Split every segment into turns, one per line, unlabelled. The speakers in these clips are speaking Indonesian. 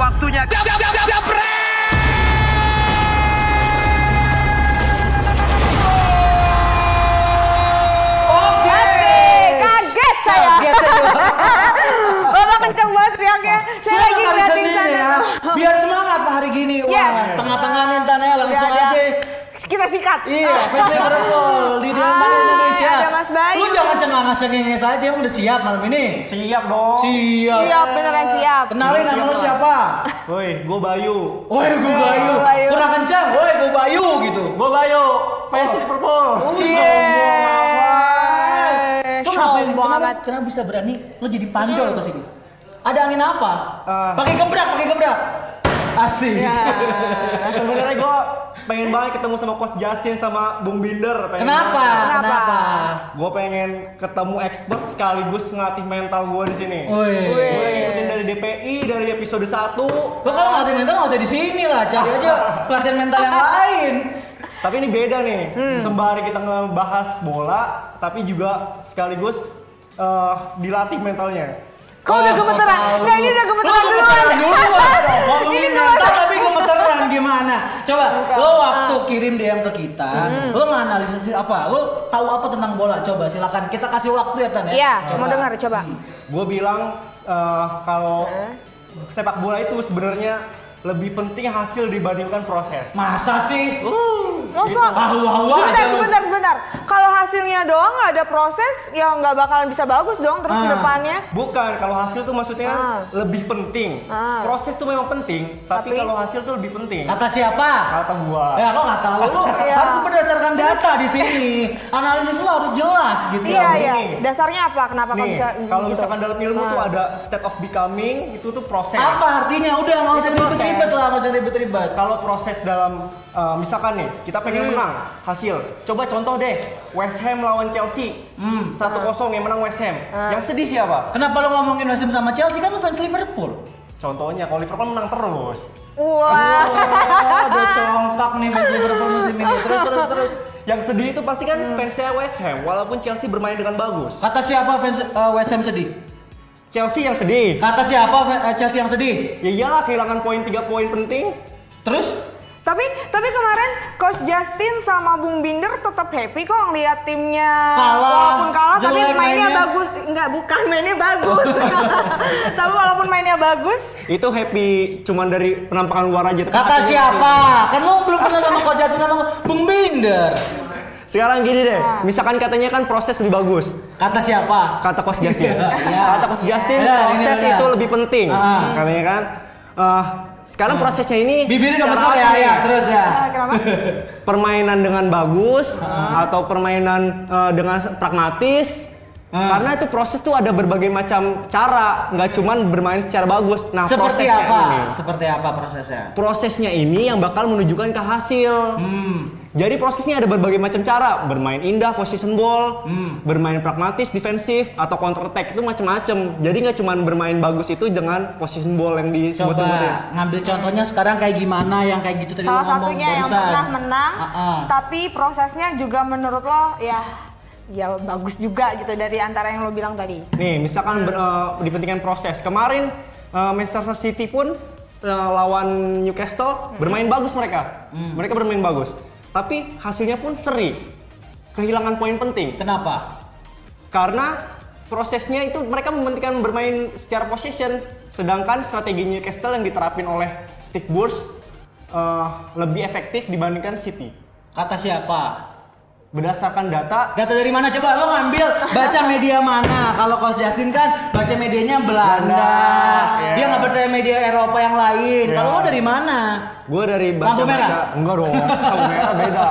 waktunya jam jam jam jam
Kaget saya. Bapak kenceng banget teriaknya. Saya lagi
Silakan hari
ngeliatin
Senin
sana.
ya. Biar semangat hari gini. Wah,
Yes.
tengah-tengah nih Tanel langsung
Udah,
aja.
udah. Kita sikat.
Iya, Face Liverpool di Delman
Hai,
Indonesia.
Ah, ada Mas Bayu.
Lu jangan cengangas cengenges aja, emang udah siap malam ini.
Siap dong.
Siap.
Oh, Siap, beneran siap.
Kenalin nama lu siapa?
Woi, gue Bayu.
Woi, gue Bayu.
Bayu.
Kurang kencang, woi gue Bayu gitu.
Gue Bayu, fans Liverpool.
Oh,
Yeay.
sombong amat.
Iya.
Lu ngapain?
Sombong
Kenapa,
Eh, amat.
kenapa bisa berani lu jadi pandol ke sini? Ada angin apa?
Eh.
Ah.
Pakai gebrak, pakai gebrak. Asik.
Ya.
Nah, Sebenarnya gue pengen banget ketemu sama Coach Jasin sama Bung Binder. Pengen
Kenapa?
Kenapa?
Kenapa?
Gue pengen ketemu expert sekaligus ngelatih mental gue di sini.
Woi.
Gue ngikutin dari DPI dari episode 1
Lo kalau latihan mental nggak usah di sini lah, cari aja pelatihan mental yang lain.
Tapi ini beda nih.
Hmm.
Sembari kita ngebahas bola, tapi juga sekaligus eh, dilatih mentalnya.
Kok udah gemeteran? Nggak, ini udah gemeteran
dulu.
duluan. Ini
Ngomongin
duluan.
mental tapi gemeteran gimana? Coba lo waktu
Ah.
kirim DM ke kita,
Hmm.
lo nganalisis apa? Lo tahu apa tentang bola? Coba silakan kita kasih waktu ya Tan ya.
Iya,
Coba.
mau dengar coba.
Gue bilang eh, kalau sepak bola itu sebenarnya lebih penting hasil dibandingkan proses.
Masa sih?
Masa?
Ahu ahu
Sebentar,
aja lo.
sebentar, sebentar. Kalau hasilnya doang nggak ada proses, ya nggak bakalan bisa bagus dong terus ke
Ah.
depannya.
Bukan, kalau hasil tuh maksudnya
Ah.
lebih penting.
Ah.
Proses tuh memang penting, tapi,
Tapi-
kalau hasil tuh lebih penting.
Kata siapa?
Kata gua.
Ya kok nggak tahu lu
Iya.
harus berdasarkan data di sini. Analisis lo harus jelas gitu.
Iya, iya.
ini.
Dasarnya apa? Kenapa kok
Nih,
bisa
kalau
gitu?
misalkan dalam ilmu tuh
Ah.
ada state of becoming, itu tuh proses.
Apa artinya? Udah nggak usah
Itu proses.
ribet-ribet lah, nggak usah ribet-ribet.
Kalau proses dalam eh, misalkan nih kita
Hmm.
pengen menang hasil, coba contoh deh West Ham lawan Chelsea
Hmm.
Ah.
1-0 yang menang West Ham. Yang sedih siapa?
Kenapa lo ngomongin West Ham sama Chelsea kan lo fans Liverpool?
Contohnya kalau Liverpool menang terus.
Wah.
Oh, udah congkak nih fans Liverpool musim ini. Terus terus terus.
Yang sedih itu pasti kan
Hmm.
fansnya West Ham walaupun Chelsea bermain dengan bagus.
Kata siapa fans eh, West Ham sedih?
Chelsea yang sedih.
Kata siapa fa- eh, Chelsea yang sedih?
Ya iyalah kehilangan poin 3 poin penting.
Terus
Tapi tapi kemarin Coach Justin sama Bung Binder tetap happy kok ngeliat timnya
Kalah,
walaupun kalah tapi
jelek
mainnya,
mainnya.
bagus. Enggak, bukan mainnya bagus. tapi walaupun mainnya bagus,
Itu happy cuman dari penampakan luar aja. tapi
kata
hatinya
siapa?
sedih.
Kan lo belum kenal sama Coach Jatin sama Bung Binder.
Sekarang gini deh,
Ah.
misalkan katanya kan proses lebih bagus.
Kata siapa?
kata Coach Justin.
Iya.
kata Coach Justin
Iya,
proses
iya, iya.
itu lebih penting.
Ah.
Katanya kan eh, sekarang prosesnya ini
Bibirnya
cara
kebetul
apa
ya,
nih?
ya, terus ya.
Ah, kenapa?
Permainan dengan bagus atau permainan eh, dengan pragmatis.
Ah.
Karena itu proses tuh ada berbagai macam cara, nggak cuman bermain secara bagus. Nah,
Seperti
prosesnya
apa?
ini.
Seperti apa prosesnya?
Prosesnya ini yang bakal menunjukkan ke hasil.
Hmm.
Jadi prosesnya ada berbagai macam cara, bermain indah, position ball,
Hmm.
bermain pragmatis, defensif, atau counter attack itu macam-macam. Jadi nggak cuma bermain bagus itu dengan position ball yang ya.
Coba
disebut-sebutin.
ngambil contohnya sekarang kayak gimana yang kayak gitu tadi
Salah
lo ngomong
satunya yang
barusan.
pernah menang,
Ah, ah.
tapi prosesnya juga menurut lo ya ya bagus juga gitu dari antara yang lo bilang tadi.
Nih, misalkan ber- eh, dipentingkan proses. Kemarin eh, Manchester City pun eh, lawan Newcastle bermain bagus mereka. Mereka bermain bagus. Tapi hasilnya pun seri. Kehilangan poin penting.
Kenapa?
karena prosesnya itu mereka mementingkan bermain secara possession sedangkan strategi Newcastle yang diterapin oleh Steve Bruce eh, lebih efektif dibandingkan City
Kata siapa?
berdasarkan data
Data dari mana coba lo ngambil baca media mana? Kalau Coach Justin kan baca medianya Belanda.
Belanda,
Dia
iya.
nggak percaya media Eropa yang lain.
Iya.
Kalau lo dari mana?
gue dari
Lampu merah?
baca- enggak dong lampu merah beda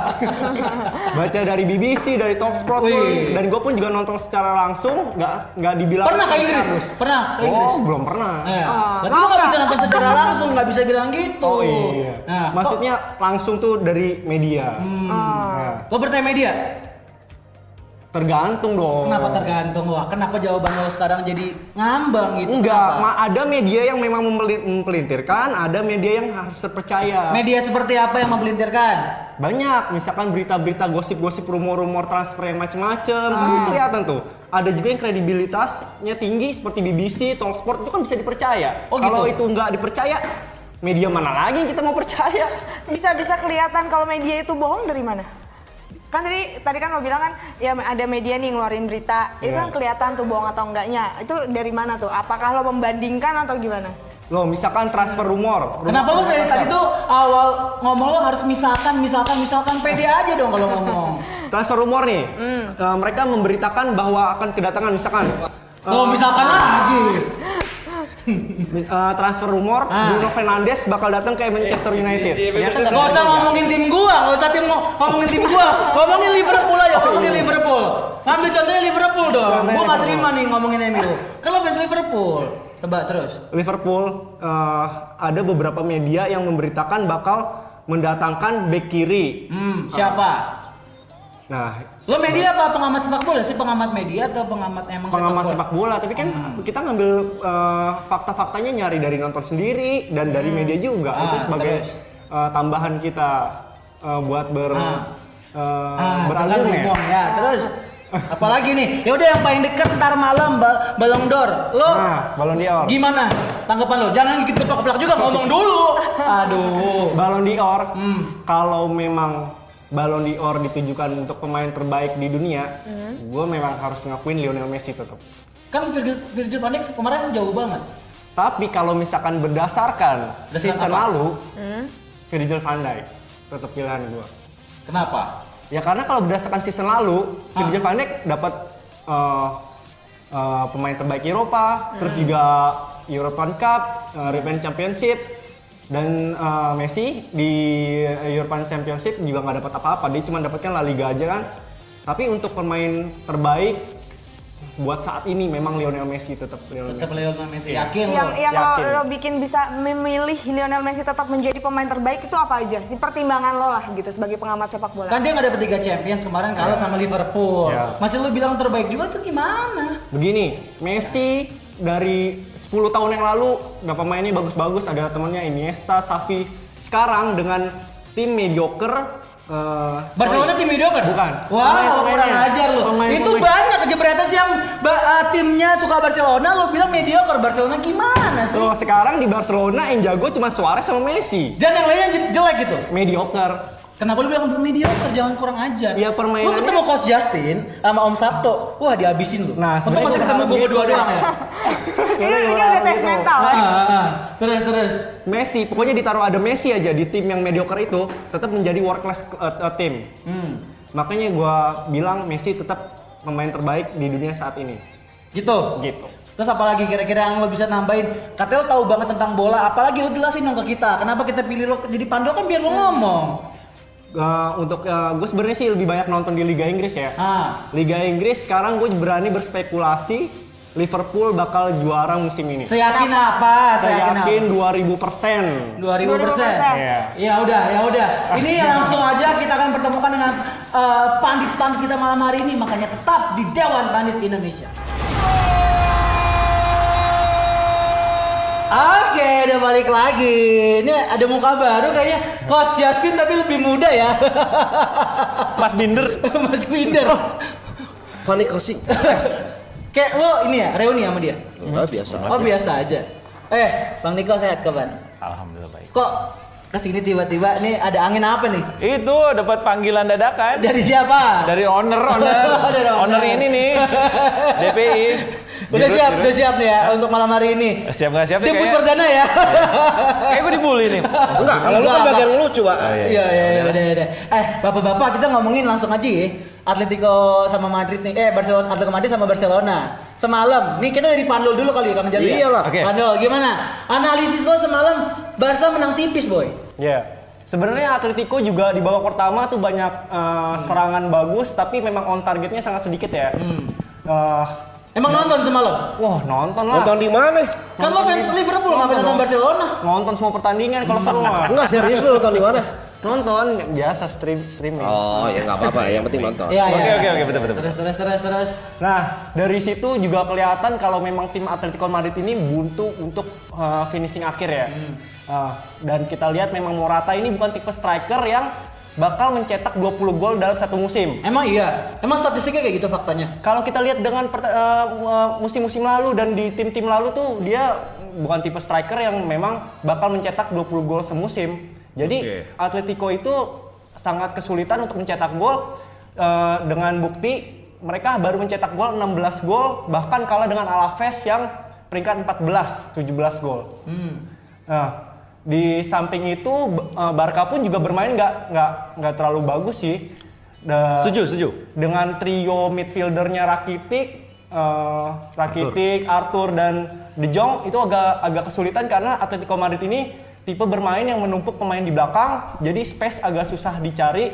baca dari BBC dari Talksport pun.
Wih.
dan gue pun juga nonton secara langsung nggak nggak dibilang
Pernah ke Inggris?
harus.
Pernah ke Inggris?
oh belum pernah
Eh,
Ah,
berarti lo nggak
masa?
bisa nonton secara langsung, nggak bisa bilang gitu.
oh iya
Nah, Hmm. Maksudnya?
maksudnya langsung tuh dari media Nah,
Lo, percaya media?
tergantung dong
Kenapa tergantung? Wah, kenapa jawaban lo sekarang jadi ngambang gitu?
Enggak,
Kenapa?
ma- ada media yang memang mempeli- mempelintirkan, ada media yang harus terpercaya.
Media seperti apa yang mempelintirkan?
Banyak, misalkan berita-berita gosip-gosip rumor-rumor transfer yang macem-macem, kan
Hmm.
kelihatan tuh. Ada juga yang kredibilitasnya tinggi seperti BBC, Talksport itu kan bisa dipercaya.
Oh,
Kalau
gitu.
itu nggak dipercaya, media mana lagi yang kita mau percaya?
Bisa-bisa kelihatan kalau media itu bohong dari mana? Kan tadi tadi kan lo bilang kan ya ada media nih ngeluarin berita. Itu
Iya.
kan kelihatan tuh bohong atau enggaknya. Itu dari mana tuh? Apakah lo membandingkan atau gimana?
Loh, misalkan transfer rumor. rumor
Kenapa lu dari
transfer.
tadi tuh awal ngomong lu harus misalkan, misalkan, misalkan pede aja dong kalau ngomong.
Transfer rumor nih.
Hmm.
Eh, mereka memberitakan bahwa akan kedatangan misalkan eh,
Tuh misalkan lagi.
gitu. mi- eh, transfer rumor
Ah. Iya,
Bruno Fernandes bakal datang ke Manchester United. Ternyata nggak
Gak usah
datang juga.
ngomongin tim gua, gak usah tim ngomongin tim gua. Ngomongin Liverpool aja, ngomongin Liverpool. Ngambil contohnya Liverpool dong. Gua
Contohnya
gak
Liverpool.
terima nih ngomongin MU. Kalau fans Liverpool, coba terus.
Liverpool eh, ada beberapa media yang memberitakan bakal mendatangkan bek kiri.
Hmm, siapa?
Nah,
Lo media apa pengamat sepak bola sih? Pengamat media atau pengamat emang
pengamat
bola?
sepak bola tapi kan kita ngambil eh, fakta-faktanya nyari dari nonton sendiri dan dari media juga
Ah,
itu sebagai
terus.
eh, tambahan kita eh, buat ber
Ah.
eh,
Ah,
beralur
tekan
ya.
rumong, ya. Terus apalagi nih? Ya udah yang paling deket ntar malam bal Ballon d'Or. Lo
Nah, Ballon d'Or.
gimana tanggapan lo? Jangan gitu keplak-keplak juga ngomong dulu. Aduh.
Ballon d'Or
Hmm.
kalau memang Ballon d'Or ditujukan untuk pemain terbaik di dunia,
Hmm.
gue memang harus ngakuin Lionel Messi tetap.
Kan Virgil, Virgil van Dijk kemarin jauh banget.
Tapi kalau misalkan berdasarkan
Berdasarkan apa?
season lalu, Virgil van Dijk tetap pilihan gue.
Kenapa?
Ya karena kalau berdasarkan season lalu,
Ah.
Virgil van Dijk dapat eh, eh, pemain terbaik Eropa, terus juga European Cup, eh, European Championship, dan eh, Messi di European Championship juga nggak dapat apa-apa, dia cuma dapatkan La Liga aja kan. Tapi untuk pemain terbaik buat saat ini memang Lionel Messi tetap Lionel
Tetap
Messi.
Lionel Messi. ya? Yakin lo?
yang yang lo,
yakin.
lo bikin bisa memilih Lionel Messi tetap menjadi pemain terbaik itu apa aja sih pertimbangan lo lah gitu sebagai pengamat sepak bola.
Kan dia nggak dapet Liga Champions kemarin kalah sama Liverpool.
Ya.
Masih lo bilang terbaik juga tuh gimana?
Begini, Messi dari 10 tahun yang lalu udah pemainnya bagus-bagus, ada temennya Iniesta, Xavi. Sekarang dengan tim mediocre eh,
Barcelona
sorry,
tim mediocre?
Bukan.
Wah, lo
Pemain-pemainnya.
kurang ajar lo.
Pemain-pemain.
Itu banyak jebreters yang ba- eh, timnya suka Barcelona, lo bilang mediocre. Barcelona gimana sih?
Loh, sekarang di Barcelona yang jago cuma Suarez sama Messi.
Dan yang lainnya je- jelek gitu.
Mediocre.
Kenapa lu bilang mediocre? Jangan kurang ajar.
Iya, permainannya-
Lu ketemu Coach Justin sama Om Sabto, wah dihabisin lu.
Nah,
Untung
sebenarnya
masih
gua
ketemu
harap
gue
gitu.
berdua doang
ini
ya.
Sebenarnya
ini
gua
udah
harap
tes
gitu.
mental.
Ah,
kan?
ah, ah. Terus terus.
Messi, pokoknya ditaruh ada Messi aja di tim yang mediocre itu tetap menjadi world class eh, eh, tim.
Hmm.
Makanya gua bilang Messi tetap pemain terbaik di dunia saat ini.
Gitu.
Gitu.
Terus apalagi kira-kira yang lo bisa nambahin? Katanya lo tahu banget tentang bola, apalagi lo jelasin dong ke kita. Kenapa kita pilih lo jadi pandu kan biar lo ngomong.
Eh, untuk gue sebenarnya sih lebih banyak nonton di Liga Inggris ya.
Ah,
Liga Inggris sekarang gue berani berspekulasi Liverpool bakal juara musim ini.
seyakin apa?
Saya
Seyakin apa?
yakin 2000 persen.
2000 persen.
2000%.
Iya.
Ya udah, ya udah. Ini langsung aja kita akan pertemukan dengan eh, pandit-pandit kita malam hari ini. Makanya tetap di Dewan Pandit Indonesia. Oke, udah balik lagi. Ini ada muka baru kayaknya. Coach Justin tapi lebih muda ya.
Mas Binder.
Mas Winder.
Oh, Fanny Crossing.
Kayak lo ini ya, reuni sama dia?
Enggak biasa.
Oh biasa aja. Eh, Bang Niko sehat kapan?
Alhamdulillah baik.
Kok kesini tiba-tiba nih ada angin apa nih?
Itu dapat panggilan dadakan
Dari siapa?
dari owner owner
Dari owner.
owner ini nih DPI.
Udah
Dirut,
siap,
dirut. Eh,
udah siap nih ya untuk malam hari ini.
Siap nggak siap? nih
Debut
kayaknya?
perdana ya.
Kayak gue dibully nih.
Enggak, kalau lu kan
Enggak,
bagian lucu, Pak.
Oh,
Iya iya iya udah udah. Eh, Bapak-bapak kita ngomongin langsung aja ya. Atletico sama Madrid nih. Eh, Barcelona Atletico Madrid sama Barcelona. Semalam. Nih kita dari Panul dulu kali ya Kang Jalu. ya?
Iyalah.
Oke.
Panul gimana? Analisis lo semalam Barca menang tipis, Boy.
Ya. Sebenarnya Atletico juga di babak pertama tuh banyak eh,
Hmm.
serangan bagus tapi memang on targetnya sangat sedikit ya.
Hmm.
Eh,
Emang nonton semalam?
wah nonton lah.
Nonton di mana?
Kan lo fans Liverpool ngapain nonton
dong.
Barcelona?
Nonton semua pertandingan kalau seru mah.
Enggak serius lu Hmm. nonton di mana?
Nonton biasa stream streaming.
Oh, ya enggak apa-apa, yang penting nonton.
Iya iya.
Oke, oke, oke, betul, betul.
Terus terus terus terus.
Nah, dari situ juga kelihatan kalau memang tim Atletico Madrid ini buntu untuk uh, finishing akhir ya. Uh, dan kita lihat memang Morata ini bukan tipe striker yang bakal mencetak 20 gol dalam satu musim.
Emang iya. Emang statistiknya kayak gitu faktanya.
eh, Kalau kita lihat dengan pert- uh, uh, musim-musim lalu dan di tim-tim lalu tuh dia bukan tipe striker yang memang bakal mencetak 20 gol semusim. Jadi
Oke.
Atletico itu sangat kesulitan untuk mencetak gol eh, dengan bukti mereka baru mencetak gol 16 gol bahkan kalah dengan Alaves yang peringkat 14 17 gol. Nah, di samping itu B- eh, Barca pun juga bermain nggak nggak nggak terlalu bagus sih. Da-
Setuju, setuju.
Dengan trio midfieldernya Rakitic, eh, Rakitic, Arthur. dan De Jong itu agak agak kesulitan karena Atletico Madrid ini tipe bermain yang menumpuk pemain di belakang, jadi space agak susah dicari.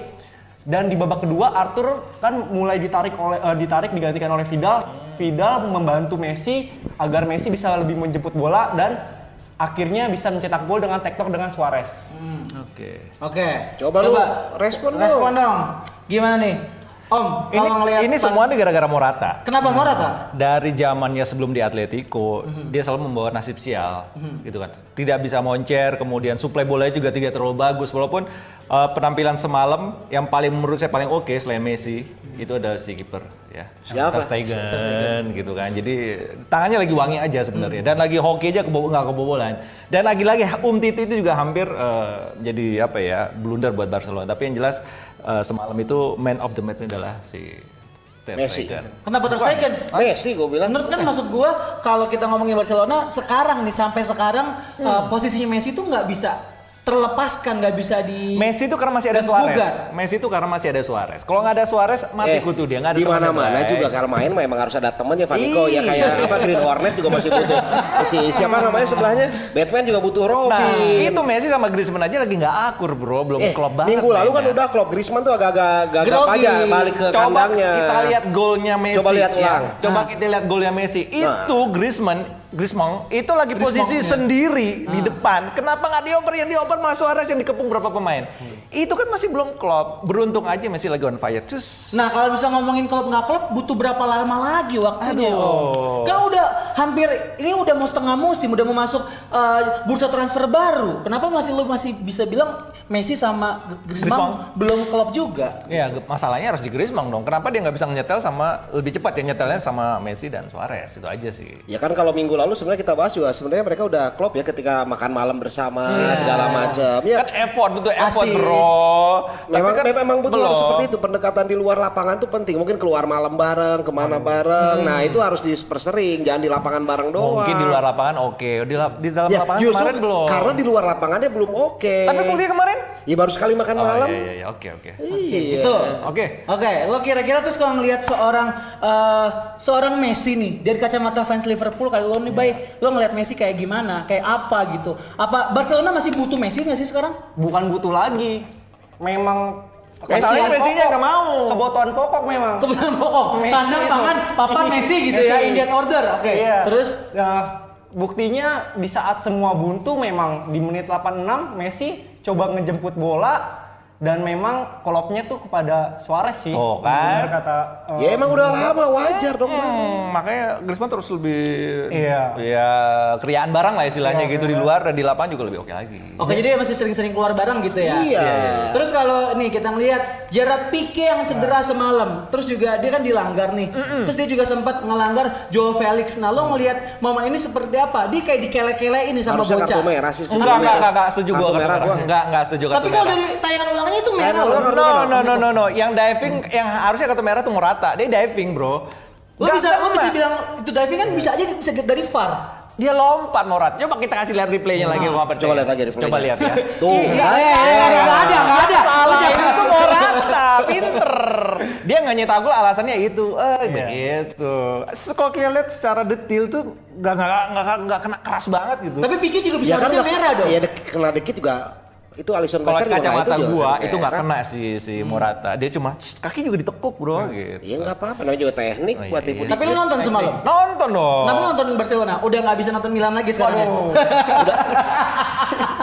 Dan di babak kedua Arthur kan mulai ditarik oleh eh, ditarik digantikan oleh Vidal. Vidal membantu Messi agar Messi bisa lebih menjemput bola dan akhirnya bisa mencetak gol dengan tektok dengan Suarez.
Oke.
Oke.
Coba lu respon dong.
Respon dong. Gimana nih? Om,
Ini,
kalau ngelihat
ini
pan-
semuanya gara-gara Morata.
Kenapa Morata?
dari zamannya sebelum di Atletico, dia selalu membawa nasib sial, gitu kan. Tidak bisa moncer, kemudian suplai bolanya juga tidak terlalu bagus. Walaupun eh, penampilan semalam yang paling menurut saya paling oke selain Messi, itu ada si kiper ya.
Siapa?
Ter Stegen, gitu kan. Jadi tangannya lagi wangi aja sebenarnya dan lagi hoki aja kebo nggak kebobolan. Dan lagi-lagi Umtiti itu juga hampir eh, jadi apa ya, blunder buat Barcelona. Tapi yang jelas eh, semalam itu man of the match adalah si Ter
Messi.
Stegen.
Kenapa Ter Stegen?
Messi gue bilang.
Menurut kan maksud gua kalau kita ngomongin Barcelona sekarang nih sampai sekarang
Hmm.
eh, posisinya Messi tuh nggak bisa terlepaskan, nggak bisa di
Messi itu karena masih ada
Dan
Suarez.
gugat.
Messi itu karena masih ada Suarez. Kalau nggak ada Suarez mati
Eh,
kutu dia nggak ada. Iya.
di
temannya,
mana-mana
Bray.
juga kan. kalau main memang harus ada temennya Vaniko ya
Ih.
kayak apa Green Hornet juga masih butuh si siapa namanya sebelahnya Batman juga butuh Robin
Nah, itu Messi sama Griezmann aja lagi nggak akur bro, belum
eh,
klop banget.
minggu lalu kan
mainnya.
udah klop Griezmann tuh agak-agak gagap
Grogi.
aja balik ke
Coba
kandangnya
kita lihat golnya Messi.
Coba lihat
ya.
ulang. Nah.
Coba kita lihat golnya Messi. Itu Griezmann, Griezmann itu lagi posisi
Griezmann-nya.
sendiri di
Nah.
depan. Kenapa nggak dioper? Yang dioper malah Suarez yang dikepung berapa pemain.
Hmm.
Itu kan masih belum klop. Beruntung aja Messi lagi on fire. Cus.
Nah kalau bisa ngomongin klub nggak klub butuh berapa lama lagi waktunya
Aduh.
Om? Kan udah hampir ini udah mau setengah musim udah mau masuk eh, bursa transfer baru. Kenapa masih lu masih bisa bilang Messi sama Griezmann
Griezmann.
belum klub juga?
Ya, ge- masalahnya harus di Griezmann dong. Kenapa dia nggak bisa nyetel sama lebih cepat ya nyetelnya sama Messi dan Suarez itu aja sih.
Ya kan kalau minggu lalu sebenarnya kita bahas juga sebenarnya mereka udah klop ya ketika makan malam bersama segala macam. Ya
Iya. Kan effort butuh effort
Asis.
bro. Tapi
memang
kan
memang betul harus
belum.
seperti itu pendekatan di luar lapangan tuh penting. Mungkin keluar malam bareng, kemana
Hmm.
bareng. Nah itu harus dipersering, jangan di lapangan bareng doang.
Mungkin di luar lapangan oke, di, lap- di dalam
Ya,
lapangan
justru
kemarin belum.
karena di luar lapangannya belum oke.
Tapi buktinya kemarin?
Ya baru sekali makan
Oh,
malam.
iya, iya, iya, oke, oke.
Iya.
Itu.
Oke.
Gitu. Oke, lo kira-kira terus kalau ngelihat seorang eh, seorang Messi nih dari kacamata fans Liverpool kalau lo nih baik, lo ngelihat Messi kayak gimana, kayak apa gitu? Apa Barcelona masih butuh Messi nggak sih sekarang?
Bukan butuh lagi. Memang
Messi
Masalahnya
yang
Messinya
pokok.
nggak mau. Kebutuhan pokok memang.
Kebetulan pokok,
Messi
oh, sandang
itu.
pangan, papan Messi gitu ya, Indian order. Oke.
Iya.
Terus
Nah, buktinya di saat semua buntu memang di menit 86 Messi coba ngejemput bola dan memang kolopnya tuh kepada Suarez sih.
Oh, kan.
Benar kata eh,
Ya emang
Oh.
udah lama wajar dong. lah.
Hmm, makanya Griezmann terus lebih
Iya.
ya kriaan barang lah istilahnya
Iya,
gitu di
iya.
luar dan di lapangan juga lebih oke lagi.
Oh,
Oke, jadi dia masih sering-sering keluar bareng gitu ya.
Iya.
Terus kalau nih kita ngelihat Gerard Pique yang cedera
Iya.
semalam, terus juga dia kan dilanggar nih. Terus dia juga sempat ngelanggar Joe Felix. Nah, lo ngelihat momen ini seperti apa? Dia kayak dikele-kele ini sama
Harusnya
bocah.
kartu merah sih.
Enggak, enggak, enggak, enggak, setuju
ya? Kartu
gua. kartu
merah
merah.
gua.
Enggak, enggak setuju kartu
Tapi kalau
merah.
dari tayangan ulangnya itu merah. loh.
Kartu merah.
Kan No, no, no, no, no. Yang diving, yang harusnya kartu merah tuh Morata. Dia diving, bro.
Lo
Nggak
bisa lo bisa
kena.
bilang itu diving kan bisa aja bisa dari VAR.
Dia lompat Morata. Coba kita kasih lihat replaynya lagi. Gua nggak percaya.
Coba lihat aja replaynya.
Coba lihat ya. iya,
Tuh.
Enggak ada, enggak ada.
Salah itu Morata, pinter. Dia nggak nyetak gol alasannya itu. Eh, begitu. So, Kalau kita lihat secara detail tuh nggak nggak nggak nggak- nggak kena keras banget gitu.
Tapi Pique juga
Ya
bisa
kan
harusnya
nggak-
merah dong.
Ya dek- kena dikit juga itu Alisson
kalau
Becker juga nggak,
kacamata
juga
gua
nggak
itu nggak
merah.
kena si si Morata. Dia cuma "Ssst, kaki juga ditekuk, Bro, gitu.
Iya nggak apa-apa namanya juga teknik
Oh, iya,
buat
iya.
tipu
Tapi lo
dikit.
nonton semalam.
Nonton dong.
Oh.
Kenapa lo nonton Barcelona? Udah nggak bisa nonton Milan lagi sekarang ya?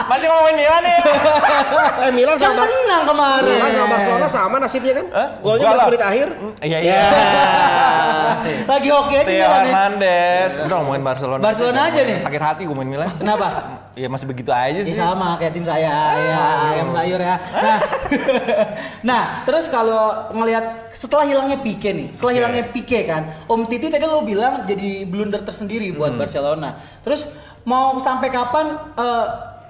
Masih ngomongin Milan ya.
Eh Milan
Kan
sama
menang kemarin.
Milan sama Barcelona sama nasibnya kan?
Eh?
Golnya
Enggak
buat
lah.
menit akhir.
Iya, iya.
Ya.
Lagi hoki aja Milan
Theo
ya.
Iya, Hernandez. Udah ngomongin Barcelona.
Barcelona aja nih.
Sakit hati gue main Milan.
Kenapa?
Ya masih begitu aja
Ya
sih.
sama kayak tim saya, ya ayam sayur ya. Nah, nah terus kalau ngelihat setelah hilangnya Pique nih, setelah hilangnya Pique kan, Om Titi tadi lo bilang jadi blunder tersendiri buat Barcelona. Terus mau sampai kapan eh,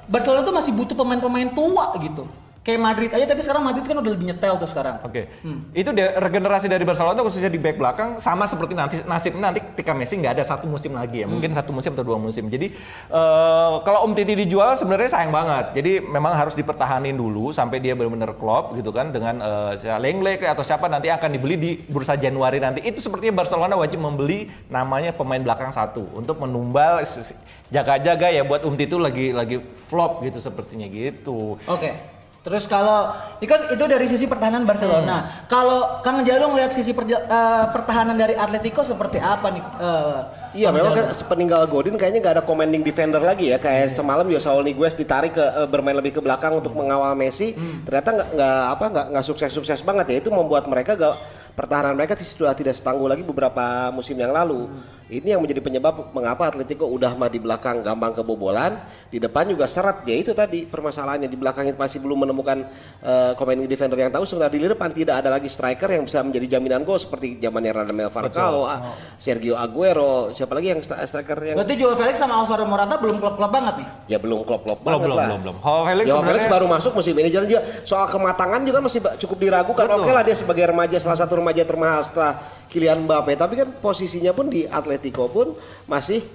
Barcelona tuh masih butuh pemain-pemain tua gitu. Kayak Madrid aja tapi sekarang Madrid kan udah lebih nyetel tuh sekarang.
Oke, itu de- regenerasi dari Barcelona khususnya di back belakang sama seperti nanti nasibnya nanti ketika Messi nggak ada satu musim lagi ya, mungkin satu musim atau dua musim. Jadi eh, kalau Om Titi dijual sebenarnya sayang banget. Jadi memang harus dipertahanin dulu sampai dia benar-benar klop gitu kan dengan eh, Lengle atau siapa nanti akan dibeli di bursa Januari nanti. Itu sepertinya Barcelona wajib membeli namanya pemain belakang satu untuk menumbal s- s- jaga-jaga ya buat Om Titi lagi lagi flop gitu sepertinya gitu.
Oke. Terus kalau itu kan itu dari sisi pertahanan Barcelona. Kalau Kang Jalu ngelihat sisi perja- eh, pertahanan dari Atletico seperti apa nih? eh,
Iya
Kang
memang
Jalu?
kan peninggal Godin kayaknya nggak ada commanding defender lagi ya kayak semalam Joshua Niguez ditarik ke eh, bermain lebih ke belakang untuk mengawal Messi
Hmm.
ternyata nggak nggak apa nggak nggak sukses sukses banget ya itu membuat mereka gak pertahanan mereka sudah tidak setangguh lagi beberapa musim yang lalu
Hmm.
ini yang menjadi penyebab mengapa Atletico udah mah di belakang gampang kebobolan di depan juga seret ya itu tadi permasalahannya di belakang itu masih belum menemukan eh, commanding defender yang tahu sebenarnya di depan tidak ada lagi striker yang bisa menjadi jaminan gol seperti zamannya Radamel Falcao, ah, Sergio Aguero, siapa lagi yang stri- striker yang
Berarti Joao Felix sama Alvaro Morata belum klop-klop banget nih.
ya belum klop-klop
Belum,
banget
belum,
lah.
belum, belum. Joao Felix
Joao
sebenarnya-
Felix baru masuk musim ini jalan juga soal kematangan juga masih ba- cukup diragukan.
Betul.
Oke lah dia sebagai remaja salah satu remaja termahal setelah Kylian Mbappe, tapi kan posisinya pun di Atletico pun masih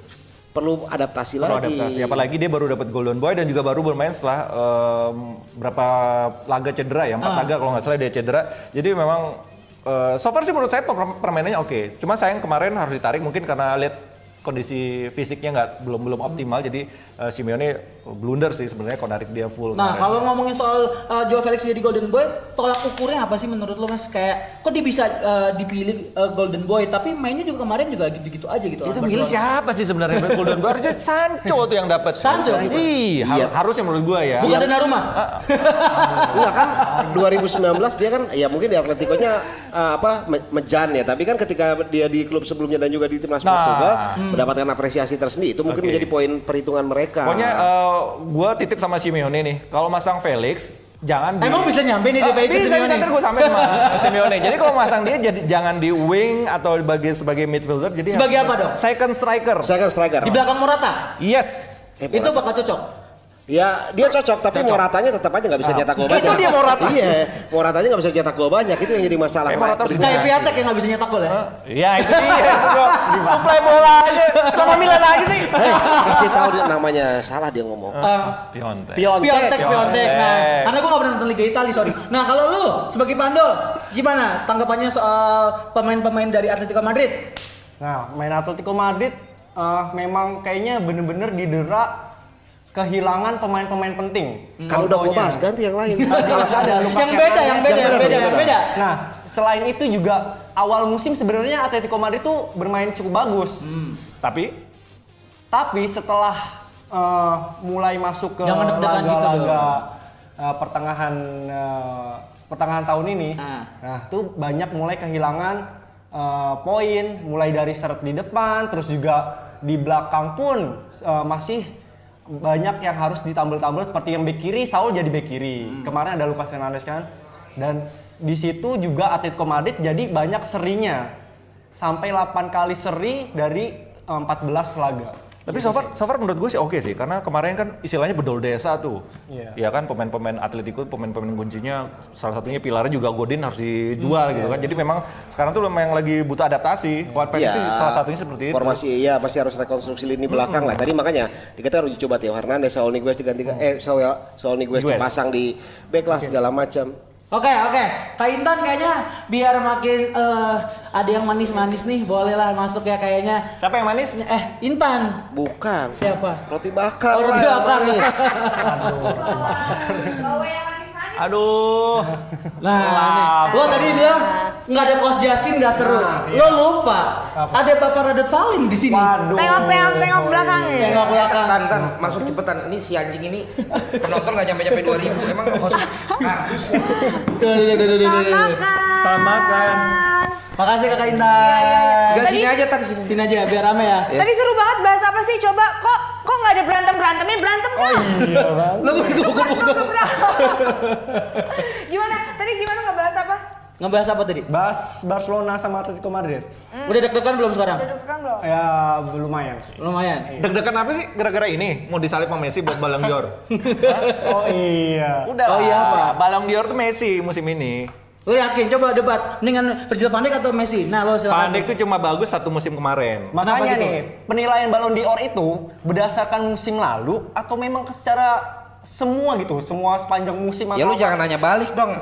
perlu adaptasi
Perlu
lagi.
adaptasi. Apalagi dia baru dapat Golden Boy dan juga baru bermain setelah em, berapa laga cedera ya,
Ah.
empat laga kalau nggak salah dia cedera. Jadi memang eh, so far sih menurut saya per- permainannya oke. Cuma sayang kemarin harus ditarik mungkin karena lihat kondisi fisiknya nggak belum belum optimal. Jadi eh, Simeone blunder sih sebenarnya kalau narik dia full.
Nah,
kemarin.
kalau ngomongin soal uh, Joe Felix jadi Golden Boy, tolak ukurnya apa sih menurut lo Mas? Kayak kok dia bisa uh, dipilih uh, Golden Boy tapi mainnya juga kemarin juga gitu-gitu aja gitu.
itu
lawan Barcelona.
milih siapa sih sebenarnya Golden Boy? Harusnya Sancho tuh yang dapat.
Sancho?
Iya, har- harusnya menurut gua ya.
Bukan Donnarumma.
Enggak kan 2019 dia kan ya mungkin di Atletico-nya eh, apa me- mejan ya, tapi kan ketika dia di klub sebelumnya dan juga di timnas
Nah.
Portugal mendapatkan apresiasi tersendiri itu mungkin
Oke.
menjadi poin perhitungan mereka.
Pokoknya eh, gue titip sama Simeone nih, kalau masang Felix jangan
Emang bisa nyampe nih
Ah,
DPI ke
bisa,
Simeone?
bisa, ntar gue sampein sama Simeone. Jadi kalau masang dia jadi jangan di wing atau sebagai sebagai midfielder. Jadi
Sebagai
harus-
apa dong?
Second striker.
Saya kan striker.
Di belakang Morata.
Yes.
Eh,
itu
Morata.
bakal cocok.
Ya, dia cocok tapi Moratanya tetap aja nggak bisa cetak gol banyak.
Itu dia Morata.
Iya, Moratanya nggak bisa cetak gol banyak itu yang jadi masalah.
Eh,
Nah,
Morata
berikutnya-
Kayak Piatek yang nggak bisa nyetak gol ya.
Ya itu dia. itu bro. Supply bola aja. Kenapa Milan aja sih?
Hei, Eh, kasih tahu dia namanya salah dia ngomong.
Eh,
Piontek.
Piontek.
Piontek, Piontek. Nah,
Piontek.
karena gue gak pernah nonton Liga Italia, sorry. Nah, kalau lu sebagai Pandol, gimana tanggapannya soal pemain-pemain dari Atletico Madrid?
Nah, main Atletico Madrid eh, memang kayaknya bener-bener didera kehilangan pemain-pemain penting.
Hmm. Kalau udah gue
Contohnya.
bahas ganti yang lain.
Alasannya iya, lupa
yang beda,
siapa
yang
namanya.
beda, yang
Yang
beda,
beda,
yang
beda.
beda.
Nah, selain itu juga awal musim sebenarnya Atletico Madrid tuh bermain cukup bagus.
Tapi
Tapi setelah eh, mulai masuk ke
Jangan deg-degan gitu
laga-laga eh, pertengahan eh, pertengahan tahun ini,
Ah.
nah tuh banyak mulai kehilangan eh, poin, mulai dari seret di depan, terus juga di belakang pun eh, masih banyak yang harus ditambel-tambel seperti yang bek kiri, Saul jadi bek kiri.
Hmm.
Kemarin ada Lucas Hernandez kan, dan di situ juga Atletico Madrid jadi banyak serinya sampai 8 kali seri dari eh, 14 laga.
Tapi so far, so far menurut gue Iya sih oke sih, karena kemarin kan istilahnya bedol desa tuh.
Iya.
Iya kan pemain-pemain Atletico, pemain-pemain kuncinya salah satunya pilarnya juga Godin harus dijual gitu kan. Jadi memang sekarang tuh memang lagi butuh adaptasi. Kuat Felix sih salah satunya seperti itu.
Formasi iya pasti harus rekonstruksi lini belakang lah. Tadi makanya dikata harus dicoba Tio Hernandez, Saul Niguez digantikan eh Saul Saul Niguez
Niguez.
dipasang di back lah segala macam.
Oke, oke. Kak Intan kayaknya biar makin eh, ada yang manis-manis nih, bolehlah masuk ya kayaknya.
Siapa yang manis?
Eh, Intan.
Bukan.
Siapa?
Roti
Oh,
bakar lah.
roti
yang
bakar.
manis.
Bawa yang manis-manis.
Aduh.
Nah, nih. lo tadi bilang nggak ada kos Jasin nggak seru.
Nah,
Lo
iya.
lupa ada Bapak Radot Valin di sini.
Tengok, tengok, tengok belakang.
Tengok
Iya.
belakang.
Tan, tan, masuk cepetan. Ini si anjing ini penonton nggak nyampe-nyampe 2000. Emang host kampus.
Duh, duh, duh, duh, duh, duh,
Selamat
duh.
makan.
Selamat makan.
Makasih Kakak
Iya,
Intan.
Enggak sini aja tan sini.
Sini aja biar rame ya.
Tadi seru banget bahas apa sih? Coba kok kok nggak ada berantem berantemnya berantem kan?
Iya,
Lo gue
Berantem, berantem. gimana? Tadi gimana nggak bahas apa?
Ngebahas apa tadi?
Bahas Barcelona sama Atletico Madrid.
Udah deg-degan belum sekarang?
Udah deg-degan belum?
Ya lumayan sih.
Lumayan.
Hmm. Deg-degan apa sih gara-gara ini? Mau disalip sama Messi buat Ballon d'Or.
Oh iya.
Udah
Oh iya, apa?
Ballon d'Or tuh Messi musim ini.
Lu yakin? Coba debat. Mendingan Virgil van Dijk atau Messi? Nah, lo
Van
silakan.
Dijk tuh cuma bagus satu musim kemarin.
Makanya
Kenapa gitu?
nih, penilaian Ballon d'Or itu berdasarkan musim lalu atau memang secara semua gitu, semua sepanjang musim
Ya lu
apa?
jangan nanya balik dong.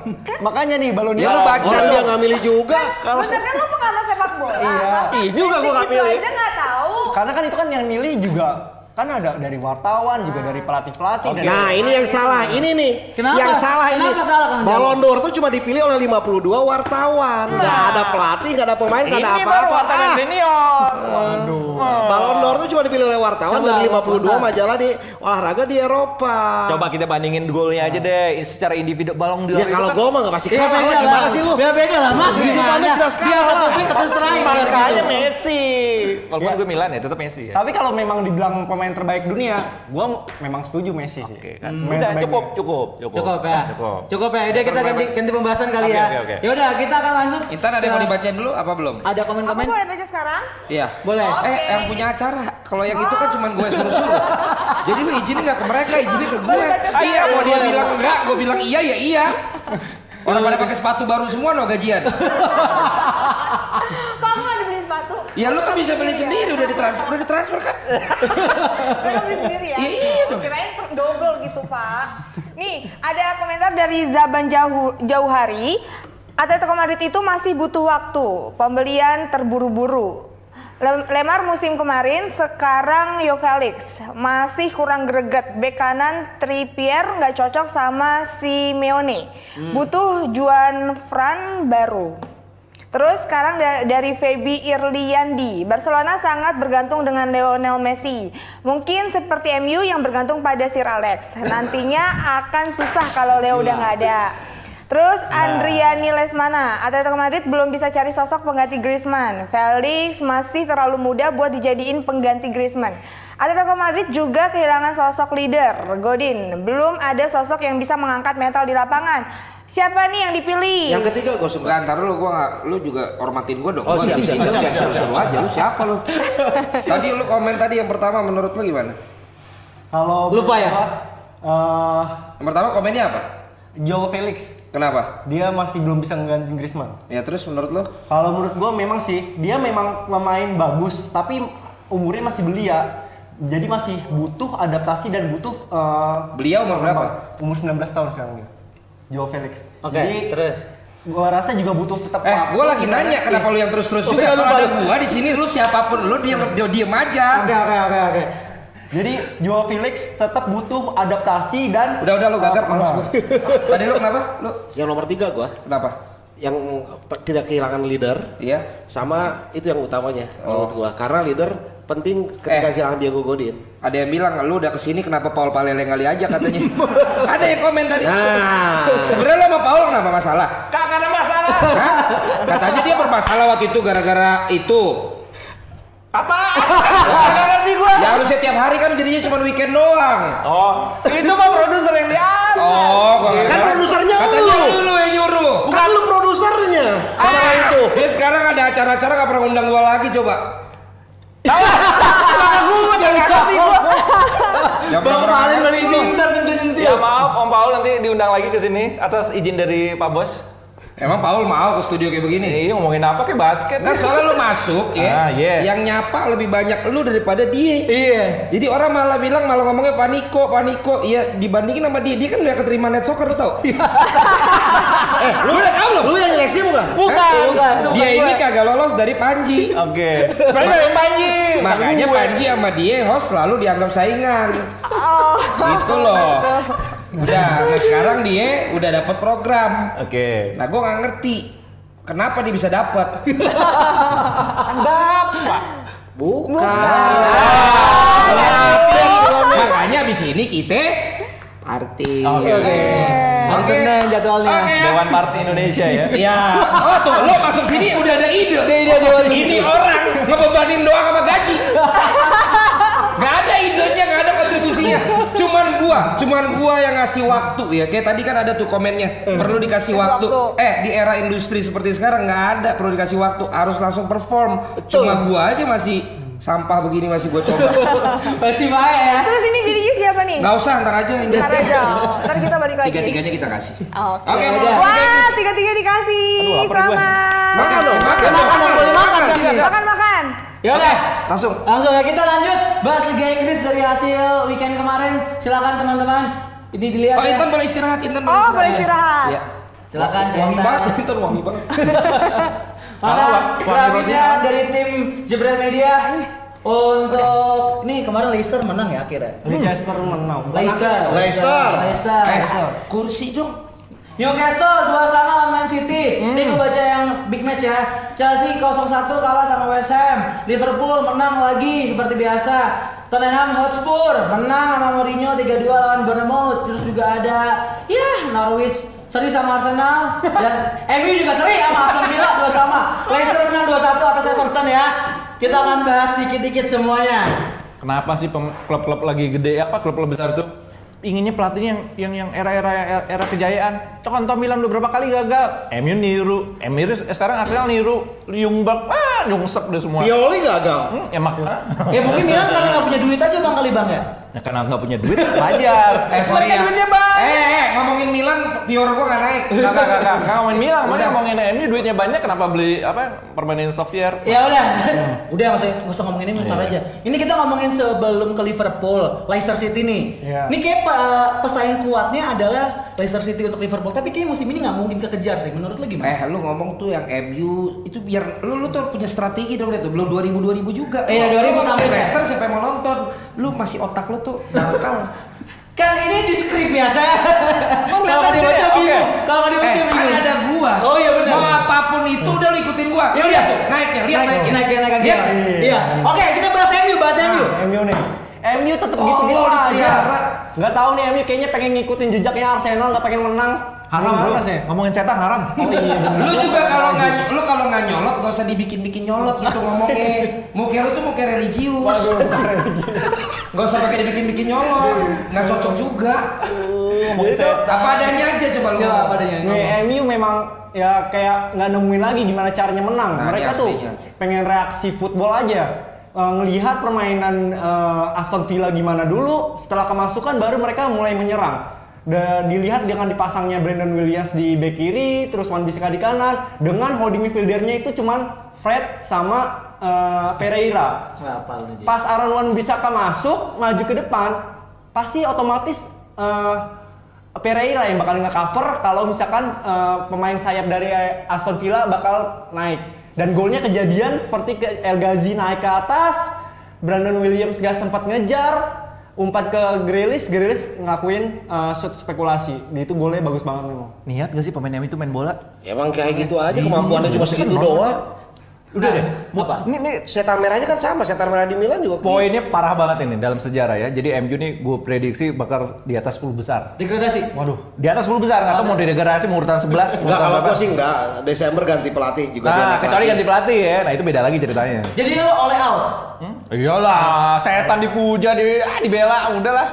Makanya nih Ballon d'Or.
Ya lu baca
Orang dia
dong.
nggak milih juga.
Kalau
Bener kan lo pengamat sepak bola?
Iya.
Masa
Ih, juga gua nggak
gitu
milih.
aja nggak tahu.
karena kan itu kan yang milih juga kan ada dari wartawan juga dari pelatih-pelatih dari
Nah ini yang salah, ini nih
Kenapa?
yang salah ini.
Kenapa salah, Kang Jamal?
Ballon d'Or tuh cuma dipilih oleh 52 wartawan. Nggak ada pelatih, nggak ada pemain, nggak ada
baru
apa-apa.
wartawan
Ah,
senior.
Ballon d'Or tuh cuma dipilih oleh wartawan
Coba,
dari 52
bentar.
majalah di olahraga di Eropa.
Coba kita bandingin golnya aja deh secara individu Ballon d'Or.
Ya
itu
kalau
kan-
gol mah nggak pasti
Ya
kalah lah,
beda lah.
gimana sih lu?
Ya beda lah, Mas.
Di Supanik jelas
Dia
kalah lah.
tapi kata striker
makanya
gitu.
Messi. Walaupun
Iya.
gue Milan ya tetap Messi ya.
tapi kalau memang dibilang pemain terbaik dunia gua memang setuju Messi sih
Oke, kan.
Pemain
Udah
terbaik
cukup,
dunia.
cukup, cukup.
Cukup ya.
Cukup.
Cukup ya. Udah kita ganti ganti pembahasan kali
Oke,
ya.
oke, oke.
Yaudah, kita akan lanjut.
Intan ada yang mau
ke-
dibacain dulu apa belum?
Ada
Aku
komen-komen?
boleh baca sekarang?
Iya.
Boleh.
Oke.
Eh, yang punya acara. Kalau yang itu kan cuma gue suruh-suruh. Jadi lu izinin nggak ke mereka, izinin ke gue. Iya, mau dia bilang enggak, gue bilang iya ya iya. Orang pada pakai sepatu baru semua no gajian.
Kok aku nggak dibeli sepatu?
Ya lu kan bisa beli
ya?
sendiri, udah ditransfer, udah ditransfer kan?
Lu nggak beli sendiri ya?
Iya, iya dong.
Kirain per- double gitu, Pak. Nih, ada komentar dari Zaban Jauh Jauhari. Atletico Madrid itu masih butuh waktu. Pembelian terburu-buru. Lem- Lemar musim kemarin, sekarang Yo Felix masih kurang greget. Bek kanan Trippier nggak cocok sama Simeone.
Hmm.
Butuh Juan Fran baru. Terus sekarang da- dari Febi Irliandi, Barcelona sangat bergantung dengan Lionel Messi. Mungkin seperti MU yang bergantung pada Sir Alex. Nantinya akan susah kalau Leo udah nggak ada. Terus Andriani Lesmana, Atletico Madrid belum bisa cari sosok pengganti Griezmann. Felix masih terlalu muda buat dijadiin pengganti Griezmann. Atletico Madrid juga kehilangan sosok leader, Godin. Belum ada sosok yang bisa mengangkat mental di lapangan. Siapa nih yang dipilih?
Yang ketiga gue suka.
Enggak, ntar lu gua nggak- lu juga hormatin gua dong.
Oh,
Gua
siap,
izinin,
siap, siap, siap,
Lu aja, lu siapa lu? Tadi lu komen tadi yang pertama menurut lu gimana?
kalau
Lupa ya?
menurut gua, eh,
Yang pertama komennya apa?
Joao Felix
Kenapa?
dia masih belum bisa mengganti Griezmann
Ya terus menurut lu?
Kalau menurut gua memang sih dia memang pemain bagus tapi umurnya masih belia. Jadi masih butuh adaptasi dan butuh eh,
Belia umur berapa?
Umur 19 tahun sekarang dia. Joao Felix.
Oke,
Jadi
terus.
gua rasa juga butuh tetap
Eh,
waktu,
gua lagi
misalnya.
nanya kenapa lu yang terus-terus
Oke,
juga? Kalau
lupa.
ada gua di sini lu siapapun lu diam diam aja.
Oke, oke, oke, oke.
Jadi Joao Felix tetap butuh adaptasi dan
Udah udah lu gagap
eh,
males
apa?
gua. Tadi lu kenapa? Lu
Yang nomor tiga gue,
kenapa?
yang pe- tidak kehilangan leader,
Iya.
sama itu yang utamanya
Oh.
menurut gue. Karena leader penting ketika
Eh.
kehilangan Diego Godin.
Ada yang bilang lu udah kesini kenapa Paul Palele ngali aja katanya. ada yang komen tadi.
Nah,
Sebenarnya lo sama Paul kenapa masalah? Kagak ada masalah. Katanya dia bermasalah waktu itu gara-gara itu. Apa?
ngerti gua.
ya harusnya tiap hari kan jadinya cuma weekend doang.
Oh, itu mah produser yang lihat.
Oh, gua nggak
Kan
tahu.
produsernya
Katanya
lu.
lu yang nyuruh.
bukan lu produsernya. Salah
Ah,
itu.
Dia sekarang ada acara-acara gak pernah undang gua lagi coba. Tahu?
Bang Valen paling pintar ngentuin dia.
Ya maaf Om Paul nanti diundang lagi ke sini atas izin dari Pak Bos.
Emang Paul mau ke studio kayak begini?
Eh ngomongin apa ke basket?
Nah soalnya lu masuk ya,
Ah, iya.
yang nyapa lebih banyak lu daripada dia.
Iya.
Jadi orang malah bilang malah ngomongnya paniko, paniko. Iya dibandingin sama dia, dia kan nggak keterima net soccer lu tau?
Iya,
Eh, lu udah tahu Lu yang nyeleksi bukan?
Bukan,
Hah?
bukan.
Kan? Eh, dia ini kagak lolos dari Panji.
Oke. Berarti yang Panji.
Makanya Panji sama dia host selalu dianggap saingan.
Oh.
Gitu loh. Udah, nah sekarang dia udah dapat program.
Oke.
Nah gue nggak ngerti kenapa dia bisa dapat.
Bukan.
Makanya abis ini kita party.
Oke. oke.
Hari Senin jadwalnya.
Dewan Parti Indonesia ya.
Ya, oh tuh lo masuk sini udah ada ide. Ini orang ngebebanin doang sama gaji. Gak ada idenya, gak ada kontribusinya. Cuman gua, cuman gua yang ngasih waktu ya. Kayak tadi kan ada tuh komennya, perlu dikasih waktu.
Waktu.
Eh, di era industri seperti sekarang nggak ada perlu dikasih waktu, harus langsung perform. Cuma gua aja masih sampah begini masih gua coba.
Masih baik ya.
Terus ini jadinya siapa nih?
Nggak usah, ntar aja.
Ntar aja. Ntar kita balik lagi.
Tiga-tiganya kita kasih.
Oke.
Oke, udah.
Wah, tiga-tiga dikasih. Selamat.
Makan dong, makan,
Makan,
makan,
boleh makan.
makan.
Silakan.
Makan-makan.
Ya udah.
Langsung.
Langsung ya kita lanjut bahas Liga Inggris dari hasil weekend kemarin. Silakan teman-teman. Ini dilihat
Oh,
ya.
Intan boleh istirahat, Intan boleh
Iya. Oh,
istirahat.
boleh istirahat.
Iya.
Silakan,
Wangi
Intan.
banget, Intan wangi banget.
Mana
Kalau Wa-
grafisnya dari tim Jebret Media untuk nih kemarin Leicester menang ya akhirnya.
Leicester menang.
Leicester,
Leicester.
Leicester.
Eh,
Leicester.
kursi dong.
Newcastle dua sama lawan Man City. Ini gue baca yang big match ya. Chelsea 0-1 kalah sama West Ham. Liverpool menang lagi seperti biasa. Tottenham Hotspur menang sama Mourinho 3-2 lawan Bournemouth. Terus juga ada ya Norwich seri sama Arsenal dan MU juga seri sama Aston Villa dua sama. Leicester menang 2-1 atas Everton ya. Kita akan bahas dikit-dikit semuanya.
Kenapa sih pem- klub-klub lagi gede apa klub-klub besar tuh inginnya pelatihnya yang yang yang era-era era- era kejayaan. Contoh Milan beberapa kali gagal. MU niru, MU niru, eh, sekarang Arsenal niru, Ljungberg ah nyungsep deh semua.
Pioli gagal.
Hmm, ya makanya.
Ya mungkin Milan karena nggak punya duit aja bang kali bang ya.
Ya, karena nggak punya duit belajar.
Eh, sorry ya.
duitnya banyak.
Eh, eh, ngomongin Milan, Pior gua nggak naik.
Enggak, enggak, enggak, enggak ngomongin Milan, mana
Udah.
ngomongin MU duitnya banyak kenapa beli apa permanen Solskjaer?
Ya udah, udah maksudnya nggak usah ngomongin ini bentar aja. Ini kita ngomongin sebelum ke Liverpool, Leicester City nih.
Iya.
Ini kayak pe- eh, pesaing kuatnya adalah Leicester City untuk Liverpool, tapi kayaknya musim ini nggak mungkin kekejar sih. Menurut lu gimana?
Eh, lu ngomong tuh yang MU itu biar lu lu tuh punya strategi dong itu belum 2000 2000 juga.
Iya,
Lu
2000
ngomong
tampil.
Leicester siapa yang mau nonton? Lu masih otak lu tuh nakal.
Kan ini di skrip ya saya. Kalau
Lihat aja,
nggak dibaca
oke.
bingung, kalau nggak dibaca
Eh, kan
bingung.
ada gua.
Oh iya benar.
Mau apapun itu udah lu ikutin gua.
Ya udah,
lihat tuh, naiknya, lihat
naik,
naiknya.
naik, naik,
Lihat.
Iya. Oke, kita bahas MU, bahas MU.
MU nih. MU tetap
Oh,
gitu-gitu
Allah,
aja.
dipelihara.
gitu Nggak tahu nih MU kayaknya pengen ngikutin jejaknya Arsenal, nggak pengen menang.
Haram
Gimana
bro,
sih?
ngomongin cetak haram.
Lu juga kalau nggak lu kalau nggak nyolot gak usah dibikin-bikin nyolot gitu ngomongnya. Muka lu tuh muka religius. Gak usah pakai dibikin-bikin nyolot. Nggak cocok juga. Iya,
Ngomongin cetak.
Apa adanya aja coba lu.
Iya, apa adanya.
Nih, MU memang ya kayak nggak nemuin lagi gimana caranya menang.
Nah,
Mereka
ini
tuh
aslinya.
pengen reaksi football aja. Eh, ngelihat permainan eh, Aston Villa gimana dulu, setelah kemasukan baru mereka mulai menyerang. Da- dilihat dengan dipasangnya Brandon Williams di bek kiri, terus Wan Bisaka di kanan, dengan holding midfieldernya itu cuman Fred sama eh, Pereira.
Apa lu dia?
Pas Aaron Wan Bisaka masuk, maju ke depan, pasti otomatis eh, Pereira yang bakal nge-cover kalau misalkan eh, pemain sayap dari eh, Aston Villa bakal naik. Dan golnya kejadian seperti ke El Ghazi naik ke atas, Brandon Williams gak sempat ngejar, umpat ke Grealish, Grealish ngakuin eh, shoot spekulasi. Itu golnya bagus banget memang.
Niat gak sih pemain MU itu main bola?
Emang kayak gitu aja kemampuannya cuma segitu doang.
Udah deh.
apa?
Ini, ini
Setan merahnya kan sama, setan merah di Milan juga.
poinnya parah banget ini dalam sejarah ya. Jadi MU nih gue prediksi bakal di atas 10 besar.
Degradasi.
Waduh, di atas 10 besar nggak tahu mau degradasi mau urutan 11.
Enggak,
urutan
kalau
berapa.
gua sih enggak. Desember ganti pelatih juga dia
Nah,
naik
kecuali
lagi.
ganti pelatih ya. Nah, itu beda lagi ceritanya.
Jadi lu oleh out.
Iyalah, setan dipuja, di ah, dibela, udahlah.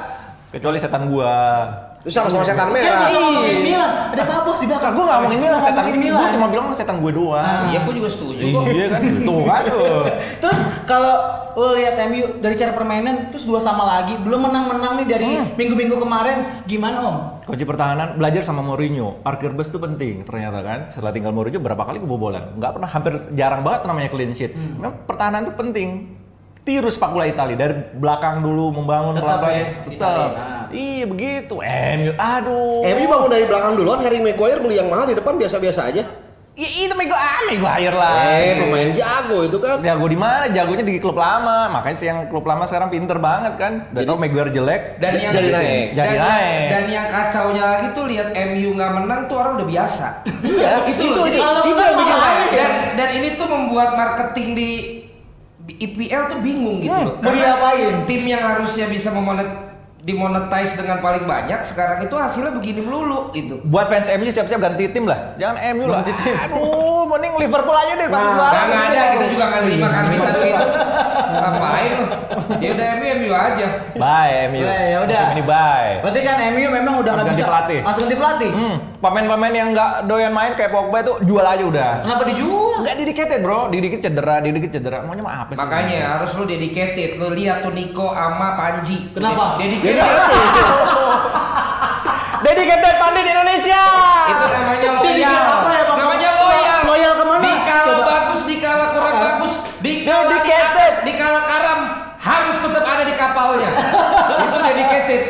Kecuali setan gua.
Itu sama-sama setan
Kan
merah.
kita ngomongin Milan, ada Babos di belakang.
Gua nggak ngomongin Milan, setan
Ngomongin
ini gua cuma bilang "Oh, setan gue doang.
Iya, gua juga setuju. kok.
Iya kan, tuh kan. tuh.
Terus kalau lo lihat MU dari cara permainan terus dua sama lagi belum menang-menang nih dari
Hmm.
minggu-minggu kemarin gimana Om?
Coach pertahanan belajar sama Mourinho. Parkir bus tuh penting ternyata kan. Setelah tinggal Mourinho berapa kali kebobolan? Nggak pernah hampir jarang banget namanya clean sheet.
Hmm.
Memang pertahanan tuh penting. Tiru sepak bola Italia dari belakang dulu membangun
Tetap
pelan-pelan.
ya,
Tetap.
Italia. Ah.
Iya begitu. MU aduh.
MU bangun dari belakang duluan, Harry Maguire beli yang mahal di depan biasa-biasa aja.
Ya, itu Miguel ah, Maguire lah. Gitu.
Eh, pemain jago itu kan.
Jago di mana? Jagonya di klub lama. Makanya sih yang klub lama sekarang pinter banget kan. Udah tau Maguire jelek.
Dan yang
Jadi naik.
Dan,
Jadi naik.
dan yang kacaunya lagi tuh lihat MU nggak menang tuh orang udah biasa.
Iya,
itu
itu,
loh.
itu,
Kalau menang
itu yang bikin
malah
ya?
aneh.
Iya. Dan dan ini tuh membuat marketing di IPL tuh bingung gitu loh.
Hmm. mau diapain?
Tim yang harusnya bisa memonet dimonetize dengan paling banyak sekarang itu hasilnya begini melulu gitu.
Buat fans MU siap-siap ganti tim lah. Jangan MU lah. Aduh, mending Liverpool aja deh pas
Nah,
juara.
Gak ada, kita juga Nah, nggak terima
Iya.
karbitan gitu. Ngapain lu? Ya udah MU MU aja.
Bye MU.
Wah, ya udah.
Musim ini bye.
Berarti kan MU memang udah
Harus
nggak
ganti
bisa.
pelatih.
Langsung ganti pelatih.
Hmm, pemain-pemain yang nggak doyan main kayak Pogba itu jual aja udah.
Kenapa dijual?
Nggak dedicated bro, dikit cedera, dikit cedera. Maunya mah apa sih?
Makanya harus lu dedicated, lu lihat tuh Niko ama Panji. Ded-
Kenapa?
Jadi gitu.
Dedicated.
dedicated pandai di Indonesia.
Itu
kan-
namanya
Dedicated
loyal.
apa ya, Bang?
Namanya loyal.
Loyal kemana?
Dikala
Coba.
bagus, dikala kurang bagus, dikala di
Dedicated.
atas, dikala karam, harus tetap ada di kapalnya. Itu dedicated.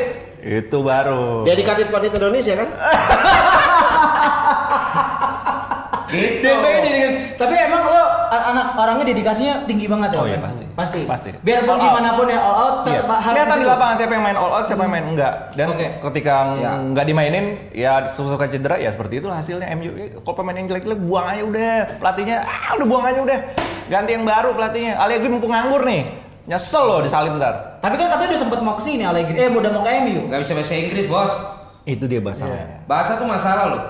Itu baru.
Jadi katit pandit Indonesia kan?
Gitu.
DP-nya dedicated. Tapi emang lo an- anak orangnya dedikasinya tinggi banget ya?
Oh,
Bang?
iya, pasti.
Pasti.
Pasti.
Biarpun
All out.
gimana pun ya all out
Iya.
tetap harus
Kelihatan di
itu.
lapangan siapa yang main all out, siapa yang main enggak. Dan
Oke.
ketika nggak dimainin, ya suka cedera, ya seperti itulah hasilnya MU. Eh, Kalau pemain yang jelek-jelek, buang aja udah. Pelatihnya, ah udah buang aja udah. Ganti yang baru pelatihnya. Allegri mumpung nganggur nih. Nyesel loh disalib ntar.
Tapi kan katanya udah sempet mau ke sini Allegri. Eh, udah mau ke MU.
Gak bisa bahasa Inggris bos.
Itu dia masalahnya.
Bahasa tuh masalah loh.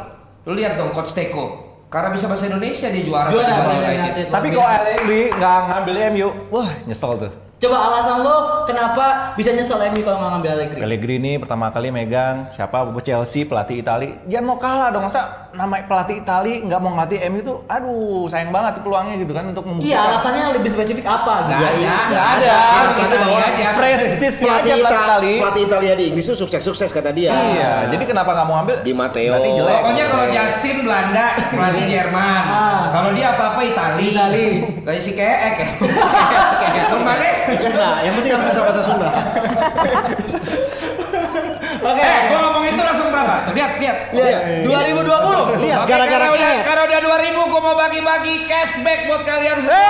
Lu lihat dong Coach Teko. Karena bisa bahasa Indonesia dia juara
Juara
tadi Bali
Bali
United.
United.
Tapi kalau Allegri nggak ngambil MU, wah nyesel tuh.
Coba alasan lo kenapa bisa nyesel MU kalau nggak ngambil Allegri?
Pellegrini pertama kali megang siapa Chelsea pelatih Itali jangan mau kalah dong masa nama pelatih Itali nggak mau ngelatih MU tuh aduh sayang banget tuh peluangnya gitu kan untuk
Iya,
membuktikan
alasannya lebih spesifik apa?
Gak
gitu?
ada,
nggak
gak
Iya,
ada
ada.
Alasan
Itu dia
bahwa
aja.
prestisnya
ya. Pelatih
aja pelatih
Italia,
Itali
pelatih Italia di Inggris tuh sukses-sukses kata dia.
iya jadi kenapa nggak mau ambil
Di Matteo.
berarti jelek
Pokoknya kalau Justin Belanda, pelatih Jerman.
Ah.
Kalau dia apa-apa Itali.
Itali.
Kayak si keek ya. Si keek. Kemarin.
Sunda, yang penting harus bisa bahasa Sunda.
Oke.
Eh, gua ngomong itu langsung berapa? Tuh, lihat, lihat.
Lihat,
2020.
Iya. Lihat,
Oke,
gara-gara
karena udah, kan.
kayak.
karena udah 2000 gua mau bagi-bagi cashback buat kalian semua.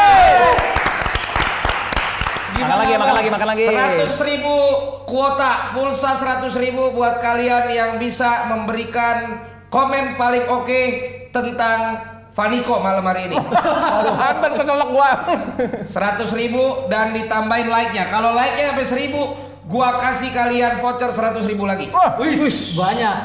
Gimana
Makan lagi,
Bang?
makan lagi, makan lagi.
100 ribu kuota, pulsa 100 ribu buat kalian yang bisa memberikan komen paling oke tentang Vaniko malam hari ini.
Anton keselak gua
100 ribu dan ditambahin like-nya. Kalau like-nya sampai 1000, gua kasih kalian voucher 100 ribu lagi.
Wah,
Wih.
Banyak.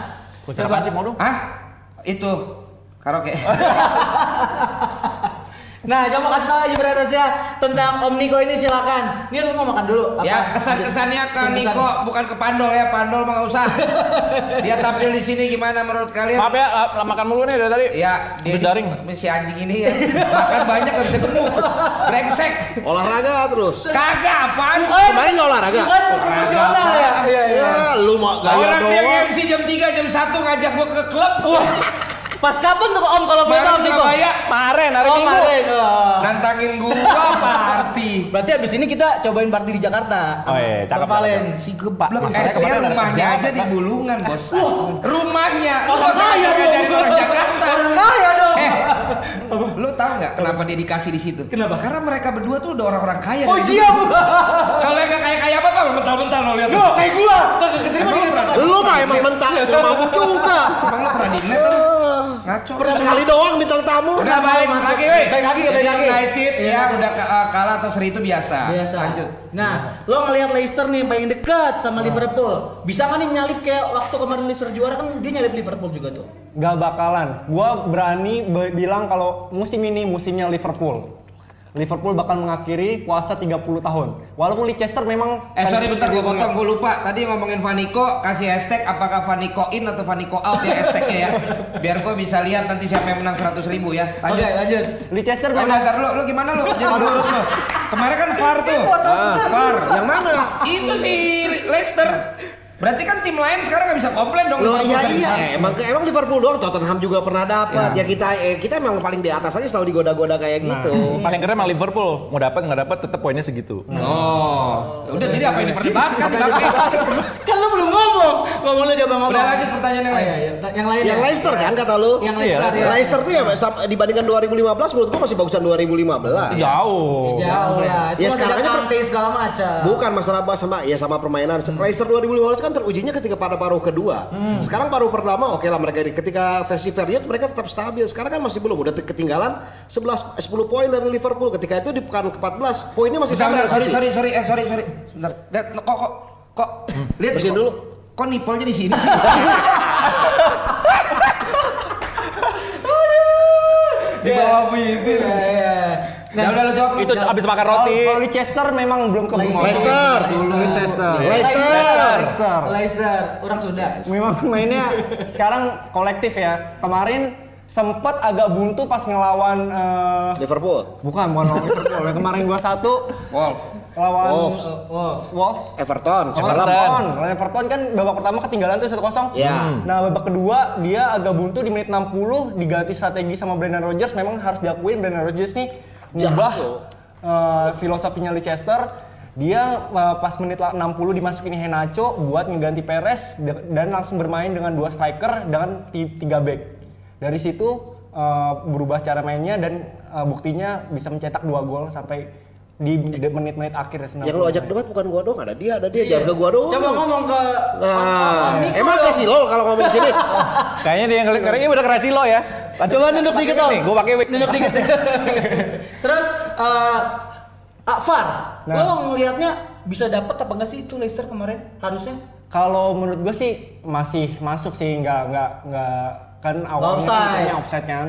Voucher apaan sih, mau dong?
Hah? Itu karaoke.
Oh,
Nah, coba kasih tahu aja Bradersnya tentang Om Niko ini silakan. Ini lu mau makan dulu. Apa?
ya, kesan-kesannya ke
Kesan-kesan.
Niko bukan ke Pandol ya, Pandol mah nggak usah. Dia tampil di sini gimana menurut kalian?
maaf ya eh, makan mulu nih dari tadi
Ya, dia
Udah daring.
di- si anjing ini ya. Makan banyak gak bisa gemuk. Brengsek.
Olahraga terus.
Kagak apaan.
Kemarin nggak olahraga.
Bukan Oh, iya. lu profesional ya.
Iya, iya. Lu mau gaya
Orang dia
doang.
MC jam 3, jam 1 ngajak gua ke klub.
Pas kapan tuh Om kalau boleh
Bareng
tahu Niko?
Surabaya. Nah.
Maren hari
Oh,
Minggu
kemarin. Oh.
Nantangin gua party.
Berarti abis ini kita cobain party di Jakarta.
Oh, iya,
Bang
cakep,
Valen.
cakep.
Si geblek
Masalahnya
eh, dia
kemarin ada
rumahnya
kerjaan,
aja di
Pak.
Bulungan, Bos. rumahnya. Lu
Orang
nggak usah
kaya dong.
ngajarin orang Jakarta.
Orang kaya dong.
Eh, lu tahu nggak kenapa dia dikasih di situ?
Kenapa?
Karena mereka berdua tuh udah orang-orang kaya.
Oh
dari
iya, Bu.
dulu. Kalau yang nggak kaya-kaya banget, apa mental-mental lo lihat.
Yo, iya, kayak gua. Kagak keterima dia.
Lu mah emang mental itu mabuk juga.
Emang lu pernah di net lu? Ngaco.
Sekali doang bintang tamu.
Udah balik
Masuk.
lagi, weh.
Balik lagi, balik
Jadi
lagi.
United
Iya,
ya
betul.
udah ka- eh, kalah atau seri itu biasa.
Biasa.
Lanjut.
Nah, lo ngelihat Leicester nih yang paling dekat sama Liverpool. Bisa nggak nih nyalip kayak waktu kemarin Leicester juara kan dia nyalip Liverpool juga tuh.
Gak bakalan. Gua berani be- bilang kalau musim ini musimnya Liverpool. Liverpool bakal mengakhiri puasa 30 tahun. Walaupun Leicester memang kan
Eh sorry bentar gue
gua
potong gue lupa tadi ngomongin Vaniko kasih hashtag apakah Vaniko in atau Vaniko out ya hashtagnya ya biar gue bisa lihat nanti siapa yang menang 100.000 ribu ya
Oke,
lanjut
lanjut.
Leicester
Oh,
memang
ntar lu, lu gimana lu? Jangan dulu lu. Kemarin kan VAR
Eh,
tuh.
ah.
VAR.
Yang mana?
Itu si Leicester. Berarti kan tim lain sekarang nggak bisa komplain dong.
Loh iya
Liverpool. kan.
iya emang emang Liverpool doang Tottenham juga pernah dapat.
Ya.
Ya kita eh, kita emang paling di atas aja selalu digoda-goda kayak gitu.
paling keren emang Liverpool mau dapat nggak dapat tetap poinnya segitu
Iya.
Oh, udah jadi apa yang diperdebatkan?
Kan lo belum ngomong. Ngomong lo coba ngomong.
Udah lanjut pertanyaan yang
Ah,
lain.
iya, iya. Yang lain.
Yang
ya?
Leicester kan kata lu?
Yang Leicester. ya.
Leicester tuh ya sam- dibandingkan 2015 menurut gua masih bagusan
Iya.
2015.
jauh
Jauh lah. Itu masih
Ya, sekarang
ada
aja per-
Kante segala macam.
Bukan masalah apa sama ya sama permainan.
Hmm.
Leicester 2015 kan terujinya ketika pada paruh kedua. Sekarang paruh pertama oke lah mereka di- ketika versi Ferriot mereka tetap stabil. Sekarang kan masih belum udah te- ketinggalan 11 10 poin dari Liverpool. Ketika itu di pekan ke-14 poinnya masih
Sebentar,
sama
sorry,
dengan City.
sorry, sorry, eh sorry, sorry. Sebentar. Dad, kok kok kok Kok lihat
Hmm. Bersihin
kok-
dulu.
Kok nipolnya di sini sih? Di bawah bibir.
Iya,
Nah, udah lo jawab.
Itu
Jawab.
abis makan
Kalau
roti.
kalau di Chester memang belum ke
Leicester.
Leicester.
Leicester.
Leicester.
Leicester, orang Sunda.
Memang mainnya sekarang kolektif ya. Kemarin sempet agak buntu pas ngelawan eh,
Liverpool.
bukan bukan lawan Liverpool. Yang Kemarin gua satu
Wolf.
lawan
Wolves.
Wolves. Wolves.
Everton semalam.
Everton. Lawan Everton kan babak pertama ketinggalan tuh 1-0.
Iya.
Hmm. Nah, babak kedua dia agak buntu di menit 60 diganti strategi sama Brendan Rodgers. Memang harus diakuin Brendan Rodgers nih ngubah eh, filosofinya Leicester. Dia eh, pas menit la- 60 dimasukin Henacho buat ngeganti Perez de- dan langsung bermain dengan dua striker dengan ti- tiga back. Dari situ eh, berubah cara mainnya dan eh, buktinya bisa mencetak dua gol sampai di di menit-menit akhir ya
Yang lu ajak debat bukan gua doang, ada dia, ada dia, jangan ke gua doang.
Iya. Coba ngomong ke
Nah,
Om Niko
emang
dong.
ke si lo kalau ngomong di sini.
Kayaknya dia yang ngeliat kayaknya udah kerasi lo ya.
Coba nunduk dikit
Pakai
dong.
wig, Gua pakai wig.
Nunduk dikit. Terus eh Afar, lo ngelihatnya bisa dapat apa enggak sih itu Leicester kemarin? Harusnya
Kalau menurut gue sih masih masuk sih nggak nggak nggak kan awalnya
offside.
katanya offside kan.